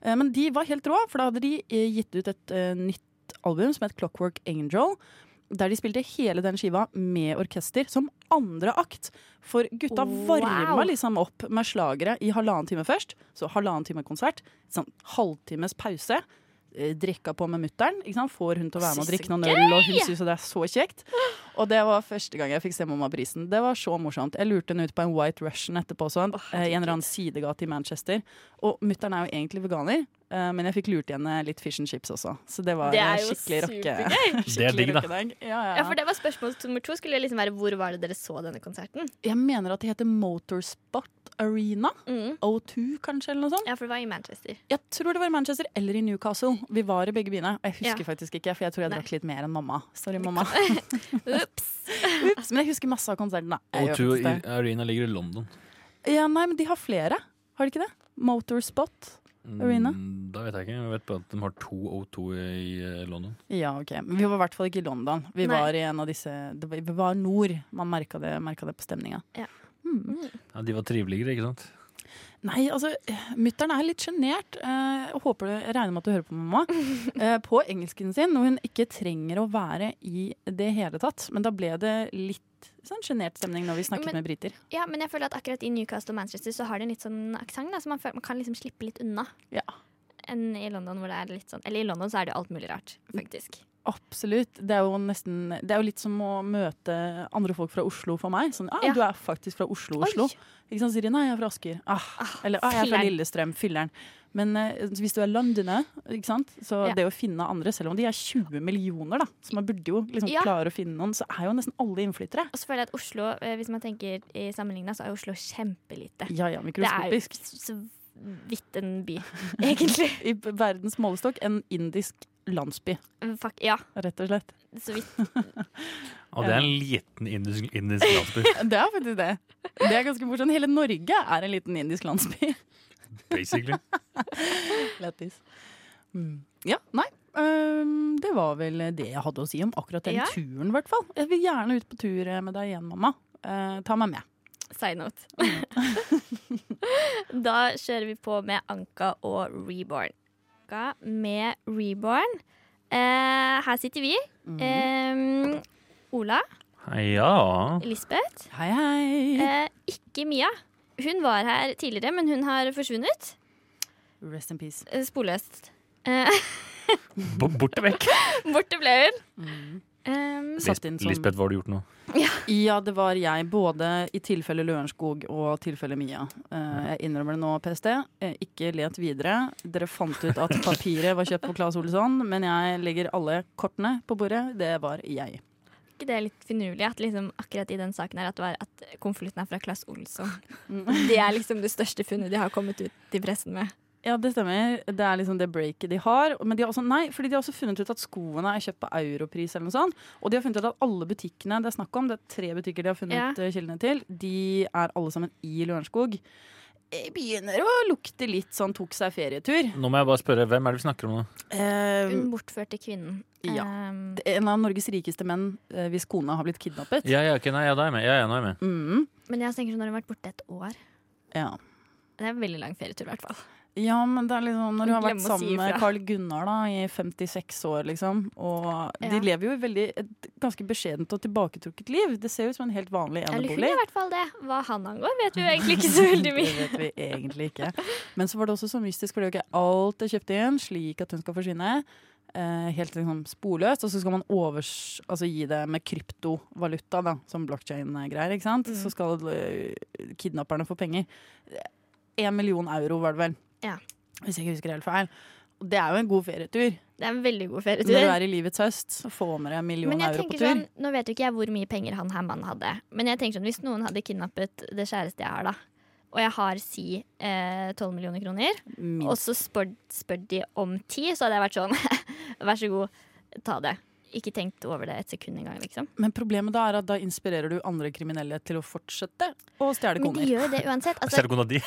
Eh, Men de var helt rå, for da hadde de eh, gitt ut et eh, nytt album som het Clockwork Angel. Der de spilte hele den skiva med orkester som andre akt. For gutta Wow. varma liksom opp med slagere i halvannen time først. Så halvannen time konsert. Sånn halvtimes pause. eh, Drikka på med mutter'n. ikke sant? Får hun til å være med og Synes drikke noen det er øl, og gøy! hun syns jo det er så kjekt. Og det var første gang jeg fikk se Mamma Brisen. Det var så morsomt. Jeg lurte henne ut på en White Russian etterpå også, eh, i en eller annen sidegate i Manchester. Og mutter'n er jo egentlig veganer, eh, men jeg fikk lurt henne litt fish and chips også. Så det var Det eh, er jo skikkelig rocke. supergøy. Det er digg, da. rockedag. Ja, ja, Ja, for det var spørsmål nummer to. Skulle liksom være hvor var det dere så denne konserten? Jeg mener at det heter Motorspot Arena. Mm. O2, kanskje, eller noe sånt. Ja, for det var i Manchester. Jeg tror det var i Manchester eller i Newcastle. Vi var i begge byene. og Jeg husker Ja. faktisk ikke, for jeg tror jeg Nei. drakk litt mer enn mamma. Sorry, mamma. Ups. Men jeg husker masse av konserten, da. Jeg gjør O2 faktisk det. i- Arena ligger i London. Ja, nei, men de har flere. Har de ikke det? Motorspot Arena. Mm, Da vet jeg ikke. Jeg vet bare at de har to O2 i eh, London. Ja, ok. Men vi var i hvert fall ikke i London. Vi Nei. var i en av disse det var, Vi var nord. Man merka det, merket det på stemninga. Mm. Ja, de var triveligere, ikke sant? Nei, altså, mutter'n er litt sjenert. Eh, og håper du, jeg regner med at du hører på mamma. Eh, på engelsken sin, noe hun ikke trenger å være i det hele tatt. Men da ble det litt sånn sjenert stemning når vi snakket Men- med briter. Ja, men jeg føler at akkurat i Newcastle og Manchester så har de en litt sånn aksent, da, så man, føler, man kan liksom slippe litt unna. Enn i London, hvor det er litt sånn Eller i London så er det jo alt mulig rart, faktisk. Absolutt. Det er jo nesten Det er jo litt som å møte andre folk fra Oslo for meg. Sånn, ah, Ja. du er faktisk fra Oslo, Oslo. Ikke sant, sier de. Nei, jeg er fra Asker. Ah. Eller ah, jeg er fra filler'n. Lillestrøm. Filler'n. Men eh, hvis du er londoner, ikke sant, så Ja. det å finne andre, selv om de er 20 millioner, da, så man burde jo liksom Ja. klare å finne noen, så er jo nesten alle innflyttere. Og så føler jeg at Oslo, eh, hvis man tenker i sammenligna, så er jo Oslo kjempelite. Ja, ja, mikroskopisk. Det er jo så vidt en by, egentlig. I b- verdens målestokk en indisk landsby, Fuck, ja. rett og slett. Så vidt. Og det er en liten indisk, indisk landsby, Det er faktisk det. Det er ganske morsomt. Hele Norge er en liten indisk landsby. basically. Lættis. Mm. Ja, nei. øhm, det var vel det jeg hadde å si om akkurat den Ja. turen, i hvert fall. Jeg vil gjerne ut på tur eh, med deg igjen, mamma. Eh, ta meg med. Sign out. da kjører vi på med Anka og Reborn. Anka med Reborn. Eh, her sitter vi. Mm. Mhm. Eh, Ola. Ja. Lisbeth. Hei, hei. Eh, ikke Mia. Hun var her tidligere, men hun har forsvunnet. Rest in peace. Eh, Sporløst. Eh, B- Borte vekk. Borte ble hun. Um, Satt inn som- Lisbeth, hva har du gjort nå? Ja, det var jeg. Både i tilfelle Lørenskog og tilfelle Mia. Eh, jeg innrømmer det nå, PST. Eh, ikke let videre. Dere fant ut at papiret var kjøpt på Claes Olsson, men jeg legger alle kortene på bordet. Det var jeg. ikke det er litt finurlig at liksom akkurat i den saken her at, det var at konvolutten er fra Claes Olsson? Det er liksom det største funnet de har kommet ut til pressen med. Ja, det stemmer. Det er liksom det breaket de har. Men de har også, nei, fordi de har også funnet ut at skoene er kjøpt på europris eller noe sånt. Og de har funnet ut at alle butikkene det er snakk om, det er tre butikker de har funnet Ja. eh, kildene til, de er alle sammen i Lørenskog. Jeg begynner å lukte litt sånn tok seg ferietur. Nå må jeg bare spørre, hvem er det vi snakker om nå? Mm. Hun bortførte kvinnen. Ehm, Ehm, Ja. En av Norges rikeste menn eh, hvis kona har blitt kidnappet. Ja, ja, ok, nei, ja, da er jeg med. Ja, ja, nå er jeg med. Mm, Men jeg tenker sånn, når hun har vært borte et år ja. Det er en veldig lang ferietur, i hvert fall. ja, men det er liksom når du har vært Glem å si sammen med ifra. Carl Gunnar da, i 56 år, liksom. Og Ja. de lever jo et veldig, et ganske beskjedent og tilbaketrukket liv. Det ser ut som en helt vanlig Eller hun enebolig. i hvert fall det. Hva han angår, vet vi jo egentlig ikke så veldig Det mye. vet vi egentlig ikke. Men så var det også så mystisk, for det er jo ikke alt er kjøpt inn slik at hun skal forsvinne. Eh, helt liksom sporløst. Og så skal man overs, altså gi det med kryptovaluta, da, som blockchain-greier. ikke sant? Mm. Så skal eh, kidnapperne få penger. Én million euro, var det vel. Ja. Hvis jeg ikke husker helt feil. Og det er jo en god ferietur. Det er en veldig god Når du er ferietur. i livets høst, så får man en million Men jeg euro på tenker tur. sånn, Nå vet jo ikke jeg hvor mye penger han her mannen hadde, men jeg tenker sånn, hvis noen hadde kidnappet det kjæreste jeg har, da, og jeg har si eh, 12 millioner kroner, Minst. og så spør, spør de om 10, så hadde jeg vært sånn, vær så god, ta det. Ikke tenkt over det et sekund engang, liksom. Men problemet da er at da inspirerer du andre kriminelle til å fortsette å stjele Men koner. de gjør jo det uansett. Altså- Ser du kona di?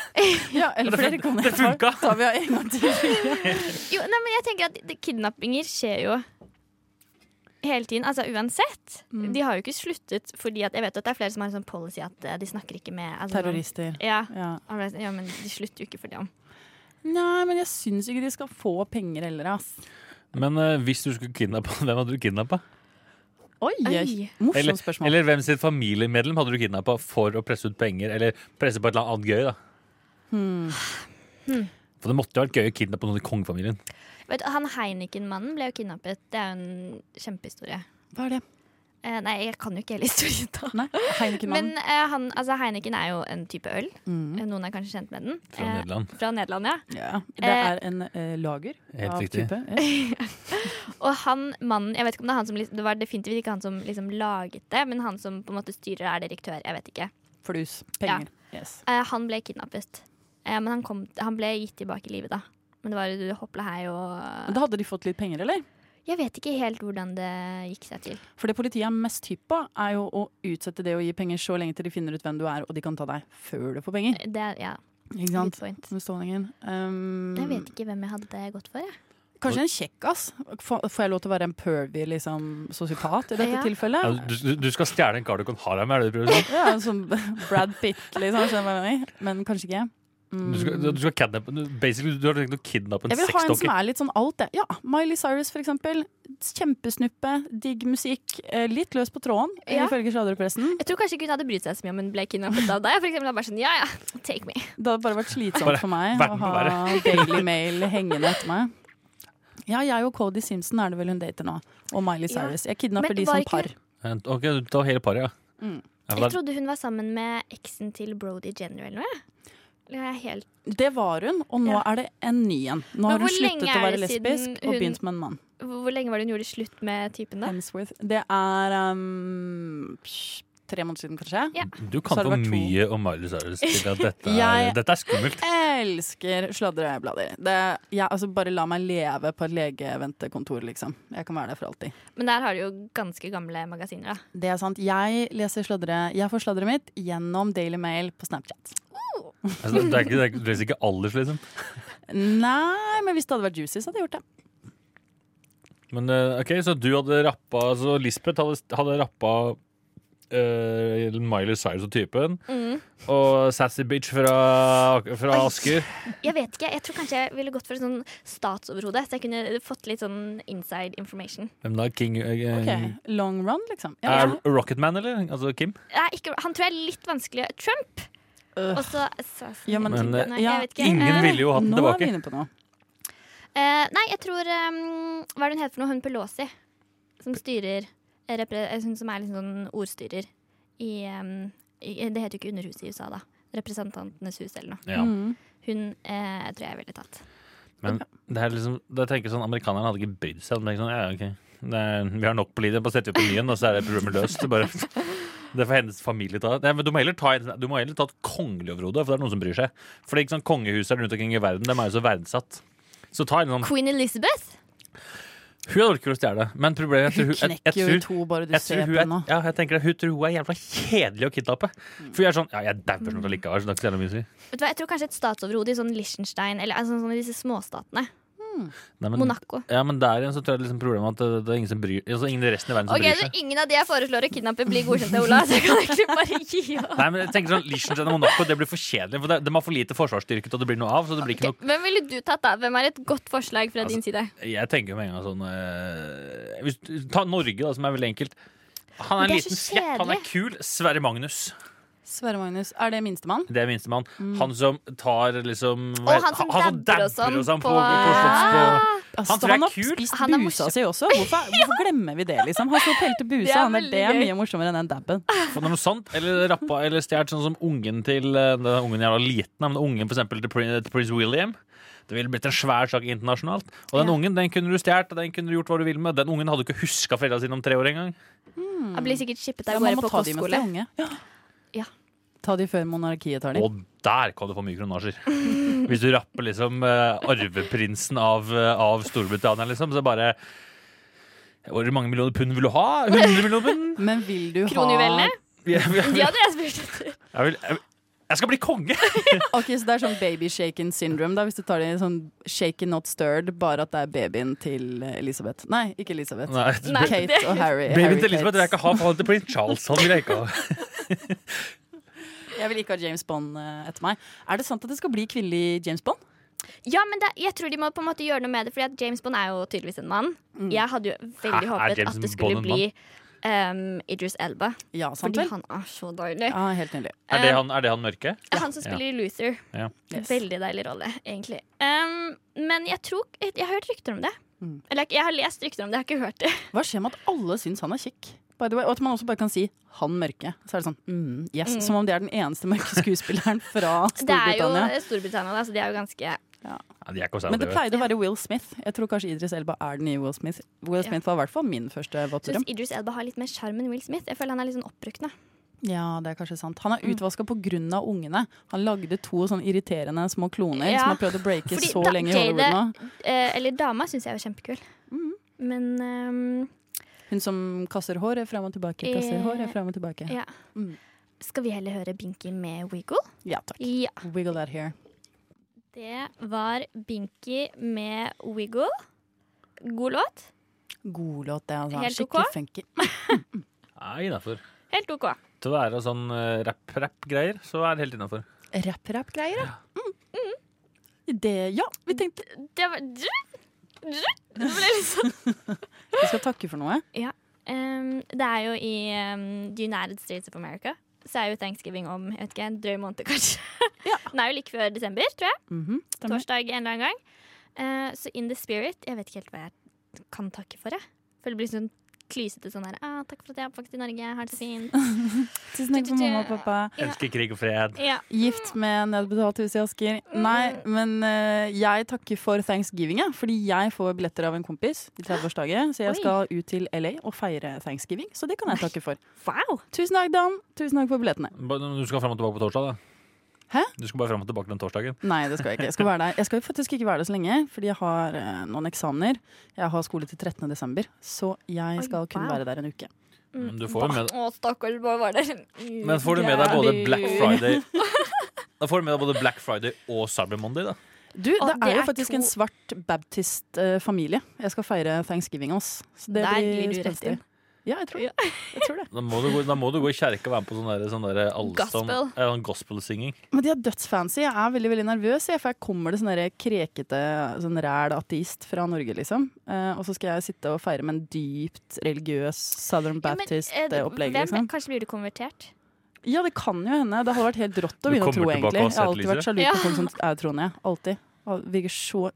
Ja, eller flere koner. Det funka! Tar vi av en gang til. Jo, nei, men jeg tenker at det- kidnappinger skjer jo hele tiden. Altså uansett. Mm. De har jo ikke sluttet fordi at Jeg vet at det er flere som har en sånn policy at eh, de snakker ikke med altså, Terrorister. Ja. Ja. ja, men de slutter jo ikke for det. Nei, men jeg syns ikke de skal få penger heller, ass. Men eh, hvis du skulle kidnappe, hvem hadde du kidnappa? Oi! Oi. Morsomt Eller, Sånn spørsmål. eller hvem sitt familiemedlem hadde du kidnappa for å presse ut penger, eller presse på et eller annet gøy, da? Hmm. For det måtte jo ha vært gøy å kidnappe noen i kongefamilien. Vet, du, han Heineken-mannen ble jo kidnappet. Det er jo en kjempehistorie. Hva er det? Eh, nei, jeg kan jo ikke hele historien. da Nei, Men Heineken-mannen. eh, han, altså, Heineken er jo en type øl. Mm. Eh, Noen er kanskje kjent med den. Fra Eh, Nederland. fra Nederland, ja. Ja, det er en eh, lager Helt av riktig. type. eh, Ja. Og han mannen Jeg vet ikke om det er han som liksom- Det var definitivt ikke han som liksom laget det, men han som på en måte styrer er direktør. Jeg vet ikke. Flus. Penger. Yes. Eh, han ble kidnappet. Eh, men han, kom, han ble gitt tilbake i livet da. Men det var jo hoppla hei og Men da hadde de fått litt penger, eller? Jeg vet ikke helt hvordan det gikk seg til. For det politiet er mest hypp på, er jo å utsette det å gi penger så lenge til de finner ut hvem du er, og de kan ta deg før du får penger. Det, er- ja. Mm. Ikke sant? Good point. Med stålingen. Um, Jeg vet ikke hvem jeg hadde gått for, jeg. Kanskje en kjekkas? Få- Får jeg lov til å være en pervy liksom, sosiopat i dette Ja. Ja, tilfellet? du, du- du skal stjele en kar du kan ha deg med, er det du prøver å si? Ja, som Brad Pitt, liksom. Skjønner du hva jeg mener? Men kanskje ikke. Du skal, du skal kidnappe du- Basically, du har tenkt å kidnappe en Mm. Jeg vil ha en som sexdokke. er litt sånn alt, jeg. Ja, Miley Cyrus, for eksempel. Kjempesnuppe, digg musikk. eh, Litt løs på tråden, Ja. ifølge sladrepressen. Jeg tror kanskje ikke hun hadde brydd seg så mye om hun ble kidnappet av deg. For eksempel, hadde bare sånn, ja, ja, take me. Det hadde bare vært slitsomt Bare for meg å verden på ha været. Daily Mail hengende etter meg. Ja, jeg og Cody Simpson er det vel hun dater nå. Og Miley Ja. Cyrus. Jeg kidnapper Men de var som ikke- par. Eh, Ok, du tar hele paret, ja. Mm. Ja, for Jeg da- trodde hun var sammen med eksen til Brody Jenner eller noe. jeg. Eller er jeg helt Det var hun, og nå Ja. er det en ny en. Nå Men har hun hvor lenge sluttet å er være det siden lesbisk og hun- begynt med en mann. Hvor hvor lenge var det hun gjorde slutt med typen, da? Hemsworth. Det er um, psh, tre måneder siden, kanskje. Du kan Så har for det vært to. mye om Miley Cyrus til at dette er, Jeg- dette er skummelt. Elsker sladreblader. Det, jeg, altså, bare la meg leve på et legeventekontor, liksom. Jeg kan være der for alltid. Men der har du jo ganske gamle magasiner, da. Det er sant. Jeg leser sladre Jeg får sladret mitt gjennom Daily Mail på Snapchat. Altså, det er ikke, det er, ikke- du leser ikke alders, liksom. Nei, men hvis det hadde vært juicy, så hadde jeg gjort det. Men eh, ok, så du hadde rappa Så Lisbeth hadde, hadde rappa eh, Miley Cyrus og typen. Mm. Og Sassy Bitch fra, fra Asker. Jeg vet ikke, jeg tror kanskje jeg ville gått for et sånn statsoverhode, så jeg kunne fått litt sånn inside information. Hvem da? King eh, Ok, Long run, liksom. Ja, Er Rocketman, eller? Altså Kim? Nei, ikke, han tror jeg er litt vanskelig. Trump! Og så sånn. Assassin. Ja, men- Men, eh, Nei, ja, jeg vet ikke. Ingen Eh, ville jo hatt den Nå er vi tilbake. inne på noe. eh, nei, jeg tror eh, Hva er det hun heter for noe? Hun Pelosi. Som styrer eh, repre, eh, Hun som er liksom sånn ordstyrer i, eh, i Det heter jo ikke Underhuset i USA, da. Representantenes hus eller noe. Ja. Mm. Hun eh, tror jeg ville tatt. Men det er liksom, da tenker jeg sånn, amerikanerne hadde ikke brydd seg. De tenker sånn, ja, ok. Det er, vi har nok på livet, bare setter vi på nyen, og så er det problemet løst. Det, bare, det får hennes familie ta. Nei, men du må heller ta, en- du må heller ta et kongelig overhode, for det er noen som bryr seg. For det er ikke sånn kongehuset rundt omkring i verden, de er jo så verdsatt. Så ta en sånn Queen Elizabeth? Hun hadde vært kul å stjele, men problemet er at Hun jeg- jeg knekker jo i tror- to bare du jeg ser tror hun på er- henne. Ja, jeg tenker det. Hun tror hun er jævla kjedelig å kidnappe. For jeg er sånn Ja, jeg dauer snart allikevel, så det er ikke så jævla mye å si. Vet du hva, Jeg tror kanskje et statsoverhode i sånn Liechtenstein eller altså, sånn i disse småstatene. Nei, men- Monaco. Ja, men der igjen så tror jeg liksom problemet er at det, det er ingen som bryr altså, Ingen i resten av verden som Ok, bryr så seg. Ingen av de jeg foreslår å kidnappe, blir godkjent av Ola. Så jeg kan egentlig bare gi opp. Nei, men jeg tenker sånn Liechtenstein og Monaco det blir for kjedelig. For det, De har for lite forsvarsstyrke til at det blir noe av. Så det blir ikke noe Altså, Hvem ville du tatt, da? Hvem er et godt forslag fra din side? Jeg tenker jo med en gang sånn eh, hvis, Ta Norge, da, som er veldig enkelt. Han Men er en det er liten så skjepp, han er kjedelig. kul. Sverre Magnus. Sverre Magnus, er det minstemann? Det er minstemann. Mm. Han som tar liksom Å, han som dabber oss om sånn på- på, på, slotts- Ah! på Altså, Han tror han jeg har er kul. spist busa si også. Hvorfor, hvorfor glemmer vi det, liksom? Han står og pelter Det busa. er Han er, det er veldig gøy. mye morsommere enn den dabben. For noe sånt, eller rappa eller stjålet, sånn som ungen til eh, den ungen jævla liten, men ungen for eksempel til Prin- til prins William. Det ville blitt en svær sak internasjonalt. Og den ungen den kunne du stjålet, og den kunne du gjort hva du ville med. Den ungen hadde du ikke huska foreldra sine om tre år engang. Han blir sikkert skippet Ja, av man gårde må på ta de mens de kostskole. er unge. Ta de før monarkiet tar de. Og der kan du få mye kronasjer. Hvis du rapper liksom eh, arveprinsen av, eh, av Storbritannia, liksom, så bare Hvor mange millioner pund vil du ha? 100 millioner pund? Men vil du ha Kronjuvelene? Jeg, De vil, jeg, hadde jeg spurt etter. vil, jeg, jeg skal bli konge! Ok, så Det er sånn baby shaken syndrome, da, hvis du tar det i sånn shaken not stirred, bare at det er babyen til eh, Elisabeth. Nei, ikke Elisabeth. Nei, Kate det- og Harry. Harry Babyen til Kate. Elisabeth vil jeg ikke ha, for han heter prins Charles. Han vil jeg ikke ha. Jeg vil ikke ha James Bond eh, etter meg. Er det sant at det skal bli kvinnelig James Bond? Ja, men det, jeg tror de må på en måte gjøre noe med det, Fordi at James Bond er jo tydeligvis en mann. Mm. Jeg hadde jo veldig Hæ, er håpet James at det skulle Bond en bli um, Idris Elba. Ja, sant fordi vel? han er så deilig. Ja, helt nydelig. Er det han, er det han mørke? Han som spiller i Luther. Ja. Veldig deilig rolle, egentlig. Um, men jeg tror Jeg har hørt rykter om det. Mm. Eller jeg har lest rykter om det, jeg har ikke hørt det. Hva skjer med at alle syns han er kjekk? By the way, og at man også bare kan si 'han mørke'. Så er det sånn mm, yes, Mm. Som om det er den eneste mørke skuespilleren fra Det er jo Storbritannia. Storbritannia, da, så de er jo ganske Ja, de er ikke Men det pleide å være Will Smith. Jeg tror kanskje Idris Elba er den nye Will Smith. Will Ja. Smith var i hvert fall min første Syns våtdrøm. Idris Elba har litt mer sjarm enn Will Smith. Jeg føler han er litt sånn oppbrukt nå. Ja, det er kanskje sant. Han Mm. er utvaska på grunn av ungene. Han lagde to sånn irriterende små kloner Ja. som har prøvd å breake Fordi så da- lenge i Jade, Hollywood nå. eh, eller dama syns jeg er kjempekul. Mm. Men ehm, Hun som kaster håret fram og tilbake, kaster Eh, håret fram og tilbake. ja. Skal vi heller høre Binky med Wiggle? Ja, takk. Ja. Wiggle that hair. Det var Binky med Wiggle. God låt. God låt, det. Altså. Helt ok? Skikkelig funky. Nei, innafor. Helt OK. Til å være sånn eh, rap-rap-greier, så er det helt innafor. Rapp-rapp-greier, ja. Mm. Det, ja, vi tenkte Det var Det ble litt sånn. Vi skal takke for noe. Ja. ehm, det er jo i ehm, The United States of America. Så er jo thanksgiving om jeg vet ikke, en drøy måned, kanskje. Den er jo like før desember, tror jeg. Mhm. Torsdag en eller annen gang. Eh, så In The Spirit Jeg vet ikke helt hva jeg kan takke for, jeg. For det blir sånn klysete sånn her ah, 'Takk for at jeg er oppvokst i Norge. Har det så fint.' Tusen takk for mamma og pappa. Elsker krig og fred. Ja. Gift med nedbetalt hus i Asker. Nei, men eh, jeg takker for thanksgiving, jeg. Fordi jeg får billetter av en kompis i 30-årsdagen. Så Oi. jeg skal ut til LA og feire thanksgiving. Så det kan jeg takke for. Wow. Tusen takk, Dan. Tusen takk for billettene. Ba- Du skal fram og tilbake på torsdag, da? Hæ? Du skal bare fram og tilbake den torsdagen? Nei, det skal jeg ikke. Jeg skal, være der. jeg skal faktisk ikke være der så lenge, fordi jeg har eh, noen eksamener. Jeg har skole til 13. desember, så Oi, jeg skal kun wow. være der en uke. Mm. Men du får jo med, Å, stakkars, bare var der. men får du med deg både Black Friday Da får du med deg både Black Friday og Cyber Monday, da. Du, Og det det er jo er faktisk to- en svart baptist-familie. jeg skal feire thanksgiving hos. Så det Der blir glir du rett spenstig. inn. Ja, jeg tror, jeg tror det. Da må du gå, da må du gå i kjerke og være med på sånn der, sånn der allsang- Gospel. eh, sånn gospel-synging. Men de er dødsfancy. Jeg er veldig veldig nervøs. Jeg, for jeg kommer det sånn der krekete, sånn ræl ateist fra Norge, liksom. Eh, og så skal jeg sitte og feire med en dypt religiøs Southern Baptist-opplegg, eh, hvem, liksom. Kanskje blir du konvertert? Ja, det kan jo hende. Det hadde vært helt rått Du å begynne å kommer tro, tilbake egentlig. og Jeg har alltid har vært sett sjalu lyset. på folk som er troende. jeg. Alltid. Og Virker så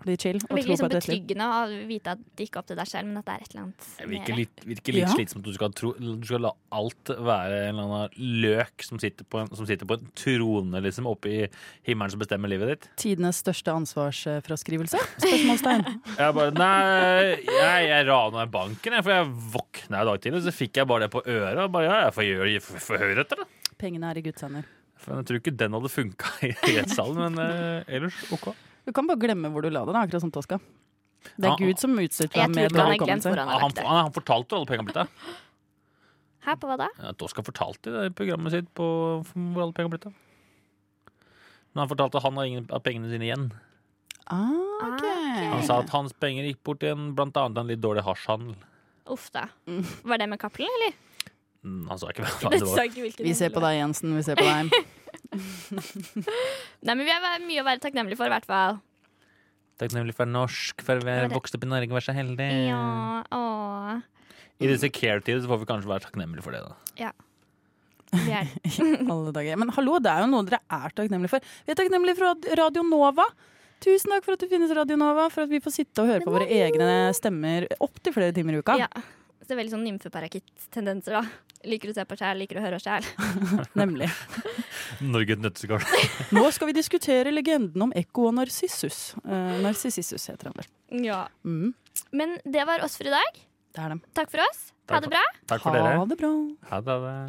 jævlig chill Det å tro virker på liksom et rett liv. betryggende å vite at det ikke er opp til deg selv, men at det er et eller annet Det virker mer. litt, virker litt Ja. slitsomt at du skal, tro, du skal la alt være en eller annen løk som sitter på en, som sitter på en trone liksom, oppe i himmelen som bestemmer livet ditt. Tidenes største ansvarsfraskrivelse? Spørsmålstegn. Jeg bare Nei, jeg, jeg rana banken, jeg, for jeg våkna i dag tidlig, så fikk jeg bare det på øret. Og bare, ja, jeg får gjøre jeg får- får høre etter, da. Pengene er i Guds hender. For jeg tror ikke den hadde funka i rettssalen, men eh, ellers OK. Du kan bare glemme hvor du la det, da, akkurat som Toska. Det er Gud som utstyrte Jeg ham med tror ikke han har velkommen glemt til. hvor han har Han, lagt det. han, han fortalte jo alle pengene blitt av. Hæ, på hva da? Ja, Doska fortalte det i programmet sitt på hvor alle pengene blitt av. Men han fortalte at han har ingen av pengene sine igjen. Ah, Ah, Han sa at hans penger gikk bort i en blant annet en litt dårlig hasjhandel. Uff da. Mm. Var det med Cappelen, eller? Mm, Han sa ikke hva det Det sa var. ikke hvilken Vi ser på handel det deg, Jensen. Vi ser på deg. var. Nei, men vi har mye å være takknemlige for, i hvert fall. Takknemlig for norsk, for jeg vokste opp i Norge og var så heldig. Ja, åh. I disse care-tider så får vi kanskje være takknemlige for det, da. Ja. Vi er I alle dager. Men hallo, det er jo noe dere er takknemlige for. Vi er takknemlige for at Radio Nova. Tusen takk for at det finnes Radio Nova, for at vi får sitte og høre på våre egne stemmer opptil flere timer i uka. Ja. Så det er veldig sånn nymfeparakitt-tendenser, da. Liker å se på sjæl, liker å høre sjæl. Nemlig. Norge et nøtteskall. Nå skal vi diskutere legenden om Ekko og Narsissus. Eh, Narsissus heter han vel. Ja. Mm, Men det var oss for i dag. det er dem. Takk for oss. Ha det bra. Takk for ha dere. det bra. Ha det.